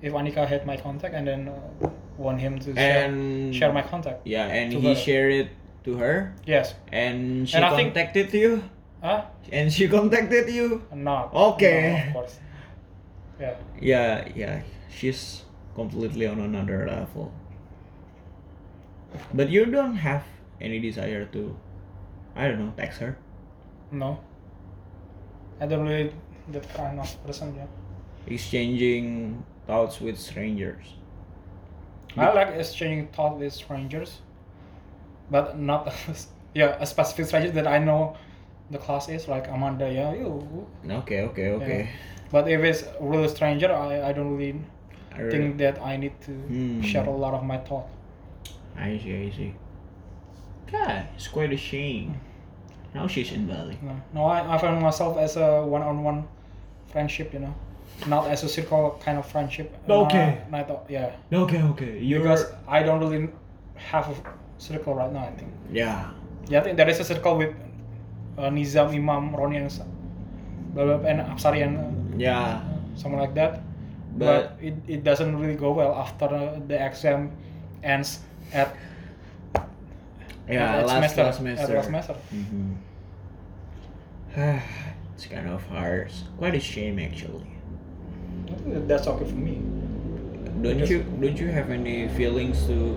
A: if Andika had my contact and then uh, want him to share,
B: And
A: share my contact.
B: yeah, and
A: to
B: he
A: her.
B: shared it to her,
A: Yes.
B: and she
A: And I think-
B: contacted you,
A: Huh?
B: and she [laughs] contacted you.
A: Not.
B: Okay.
A: No, of course. Yeah.
B: Yeah, yeah, she's completely on another level. But you don't have any desire to, I don't know, text her.
A: No. I don't really that kind of person. Yeah.
B: exchanging thoughts with strangers.
A: I like exchanging thoughts with strangers, but not [laughs] yeah a specific stranger that I know the class is like Amanda yeah you.
B: Okay, okay, okay.
A: But if it's a real stranger, I, I don't really
B: I, re-
A: think that I need to
B: Hmm.
A: share a lot of my thought.
B: I see, I see. God, it's quite a shame. Now she's in Bali.
A: No, no I, I find myself as a one-on-one friendship, you know, not as a circle kind of friendship.
B: Okay.
A: And I, and I thought yeah
B: Okay, okay. You're
A: because I don't really have a circle right now. I think.
B: yeah.
A: Yeah, I think there is a circle with uh, Nizam, Imam, Roni, and s- blah, blah, and Absari and uh,
B: Yeah.
A: someone like that. But,
B: But,
A: it, it doesn't really go well after uh, the exam ends at
B: yeah,
A: at
B: last last
A: At
B: semester.
A: last semester.
B: Mhm. [sighs] it's kind of hard. Quite a shame actually.
A: I think That's okay for me.
B: Don't
A: Because-
B: you don't you have any feelings to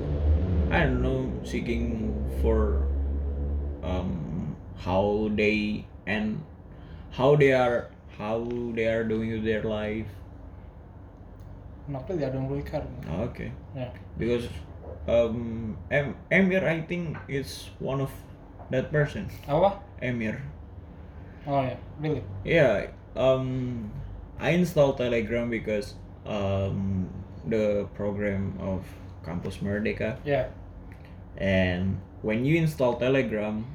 B: I don't know seeking for um how they and how they are how they are doing with their life.
A: Not really. I don't really care.
B: Okay.
A: Yeah.
B: Because um Em- Emir I think is one of that person.
A: Apa?
B: Emir.
A: Oh yeah. Really.
B: Yeah, um, I installed Telegram because um, the program of Campus Merdeka,
A: Yeah.
B: and when you install Telegram,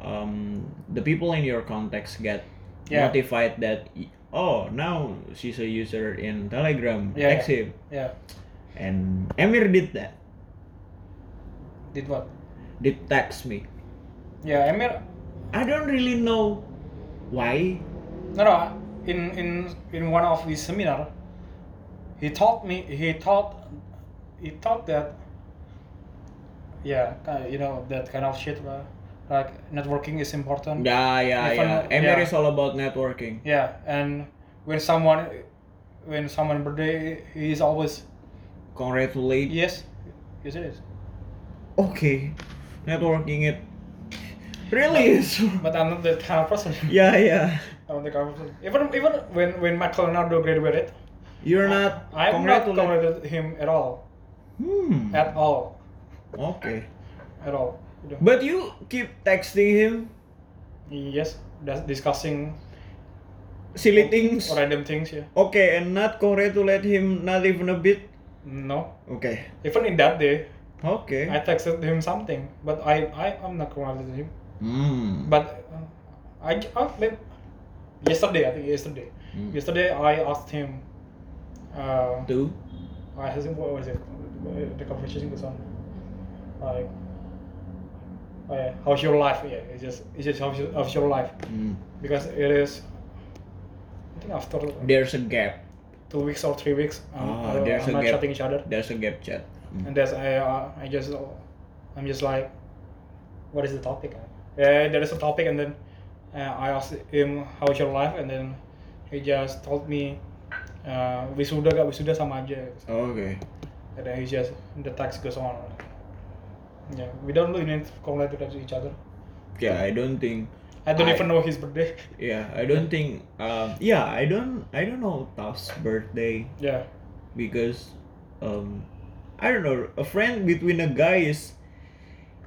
B: um, the people in your contacts get
A: Yeah.
B: notified that y- oh now she's a user in Telegram,
A: Yeah,
B: text him,
A: Yeah.
B: and Emir did that,
A: Did what?
B: did text me.
A: Yeah. Emir.
B: I don't really know why.
A: No, no. In in in one of his seminar, he taught me. He taught. He taught that. Yeah, uh, you know that kind of shit. uh, Like networking is important.
B: Yeah, yeah,
A: Even-
B: yeah. Emir
A: yeah.
B: is all about networking.
A: Yeah, and when someone, when someone birthday, he is always
B: Congratulate
A: yes, yes it is.
B: okay networking it
A: [laughs]
B: really is
A: But I'm not that kind of person.
B: yeah yeah
A: I'm not the kind of person. Even even when when Michael Leonardo graduated,
B: you're not
A: I'm not
B: congratulate-
A: congratulated him at all,
B: hmm.
A: at all,
B: okay
A: at all. You know.
B: but you keep texting him
A: Yes, that's discussing
B: silly things
A: random things. Yeah.
B: okay and not congratulate him not even a bit
A: No,
B: okay
A: even in that day,
B: okay
A: I texted him something, but I I am not congratulating him.
B: Hmm.
A: But uh, I uh, maybe yesterday I think yesterday.
B: Hmm.
A: Yesterday I asked him. Uh,
B: two
A: I asked him what was it? uh, The conversation was on like. Oh yeah, how's your life? Yeah, it's just it's just how's your, how's your life
B: Hmm.
A: because it is. I think after
B: there's a gap
A: two weeks or three weeks, um, I
B: Ah,
A: don't-
B: there's
A: I'm
B: a
A: not
B: gap.
A: chatting each other.
B: there's a gap chat Hmm.
A: and that's I uh, I just I'm just like, what is the topic? Yeah, there is a topic, and then uh, I asked him how's your life, and then he just told me uh, wisuda gak wisuda sama aja,
B: Oh, okay
A: and then he just the text goes on. Yeah, we don't really need to congratulate each other.
B: yeah i don't think
A: I don't
B: I-
A: even know his birthday. [laughs]
B: yeah i don't think um yeah i don't i don't know Taf's birthday
A: yeah,
B: because um I don't know a friend between a guy is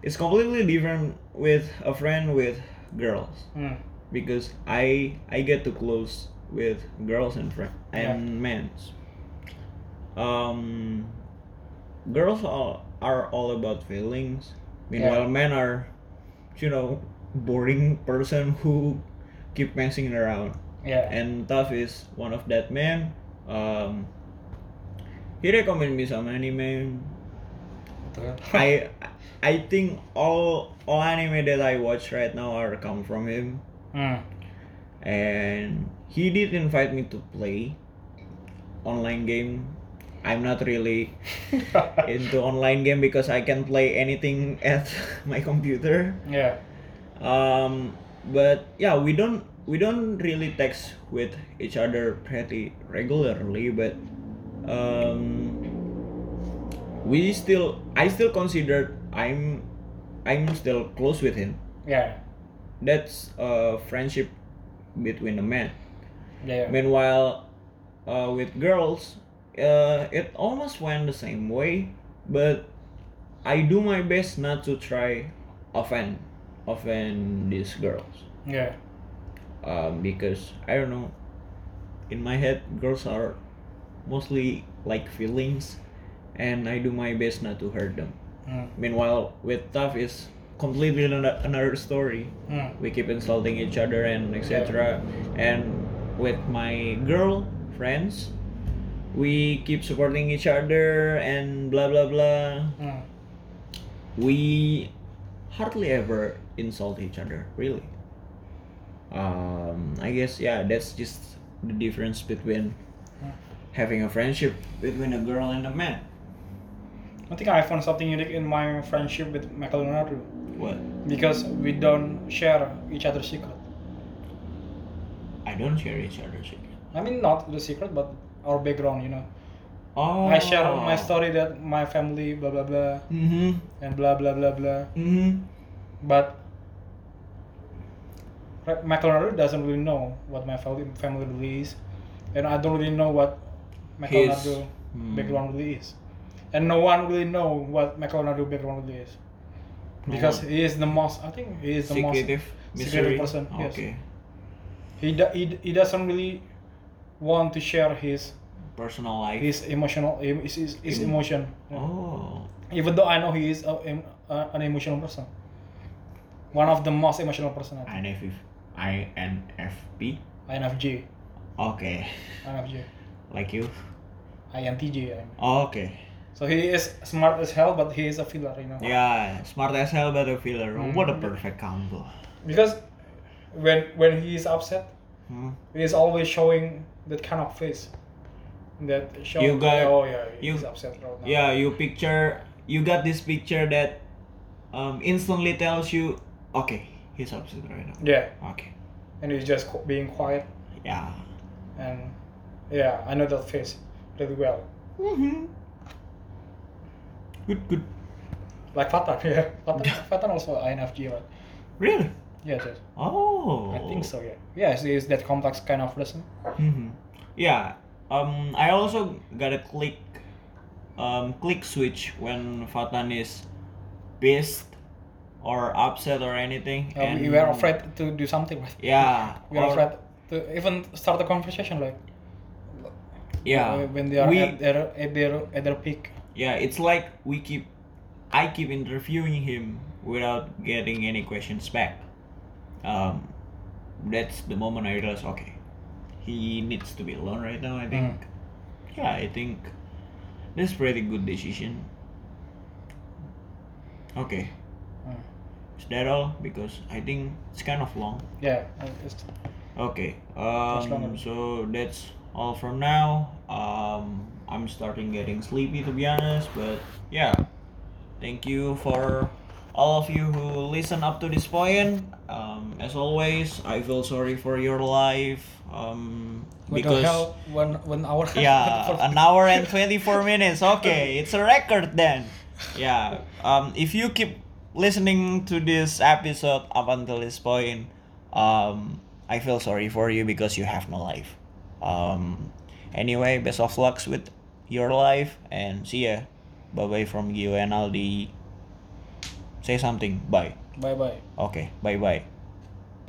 B: is completely different with a friend with girls
A: Hmm.
B: because I I get to close with girls and friend
A: Yeah.
B: and men's um girls are, are all about feelings meanwhile men are you know boring person who keep messing around
A: yeah,
B: and Taf is one of that men Um, he recommended me some anime. uh,
A: Betul.
B: I I think all all anime that I watch right now are come from him.
A: Hmm. [laughs]
B: and he did invite me to play online game i'm not really into online game because i can play anything [laughs] at my computer
A: yeah.
B: um, but yeah we don't we don't really text with each other pretty regularly but um, we still i still consider i'm i'm still close with him
A: Yeah.
B: that's a friendship between a man
A: Yeah.
B: Meanwhile, uh, with girls, uh, it almost went the same way, but I do my best not to try offend offend these girls
A: Yeah.
B: um, because I don't know. In my head, girls are mostly like feelings, and I do my best not to hurt them.
A: Hmm.
B: Meanwhile, with tough is completely ano- another story
A: Hmm.
B: we keep insulting each other and etc and with my girl friends we keep supporting each other and blah blah blah
A: Hmm.
B: we hardly ever insult each other really um i guess yeah that's just the difference between having a friendship between a girl and a man
A: I think I found something unique in my friendship with Michael Leonardo
B: what
A: because we don't share each other's secret.
B: i don't share each other's secret
A: I mean, not the secret, but our background, you know.
B: oh
A: I share my story that my family, blah blah blah,
B: mm-hmm
A: and blah blah blah blah.
B: mm-hmm
A: But Re- Michael Leonardo doesn't really know what my family family really is, and I don't really know what Michael
B: His-
A: Leonardo
B: hmm.
A: background really is, and no one really know what Michael Leonardo background really is,
B: No
A: because
B: one.
A: he is the most. I think he is the
B: secretive
A: most
B: mystery?
A: secretive person. Yes.
B: okay
A: He, do, he he doesn't really want to share his
B: personal life
A: his emotional his his, his
B: Emo-
A: emotion.
B: oh
A: Even though I know he is a, em- a- an emotional person, one of the most emotional person. I think.
B: INFP INFP
A: INFJ,
B: okay
A: INFJ,
B: like you
A: INTJ. I mean.
B: okay
A: So he is smart as hell, but he is a filler, you know.
B: yeah smart as hell but a filler
A: Hmm.
B: what a perfect combo
A: Because when when he is upset,
B: Hmm.
A: he is always showing that kind of face. That show.
B: You got-
A: oh yeah, he's
B: you-
A: upset right now.
B: yeah you picture you got this picture that um, instantly tells you okay he's upset right now
A: Yeah,
B: okay
A: and he's just qu- being quiet.
B: yeah
A: and yeah, I know that face really well.
B: mm-hmm. good good
A: Like Fatan, [laughs] yeah. Fatan, Fatan also INFJ, right?
B: really
A: Yes, yes.
B: oh
A: I think so, yeah. Yes, he is that complex kind of person.
B: hmm Yeah. Um, I also gotta click, um, click switch when Fatan is pissed or upset or anything.
A: Uh, we were afraid to do something, right?
B: Yeah.
A: We are
B: or-
A: afraid to even start a conversation, like uh,
B: Yeah.
A: when they are
B: we,
A: at their at their at their peak. Uh,
B: yeah, it's like we keep, I keep interviewing him without getting any questions back. Um, that's the moment I realized, okay, he needs to be alone right now. I think. Yeah, I think that's pretty good decision. Okay,
A: Mm.
B: is that all? Because I think it's kind of long.
A: Yeah, uh, it's-
B: Okay.
A: longer.
B: Um. So that's all from now. Um. I'm starting getting sleepy to be honest, but yeah. Thank you for all of you who listen up to this point. Um. As always, I feel sorry for your life. Um.
A: what the
B: because
A: hell? One one hour. [laughs]
B: yeah an hour and 24 minutes okay it's a record then yeah um if you keep listening to this episode up until this point um i feel sorry for you because you have no life um anyway best of lucks with your life and see ya bye bye from you and aldi say something bye
A: bye bye.
B: okay bye bye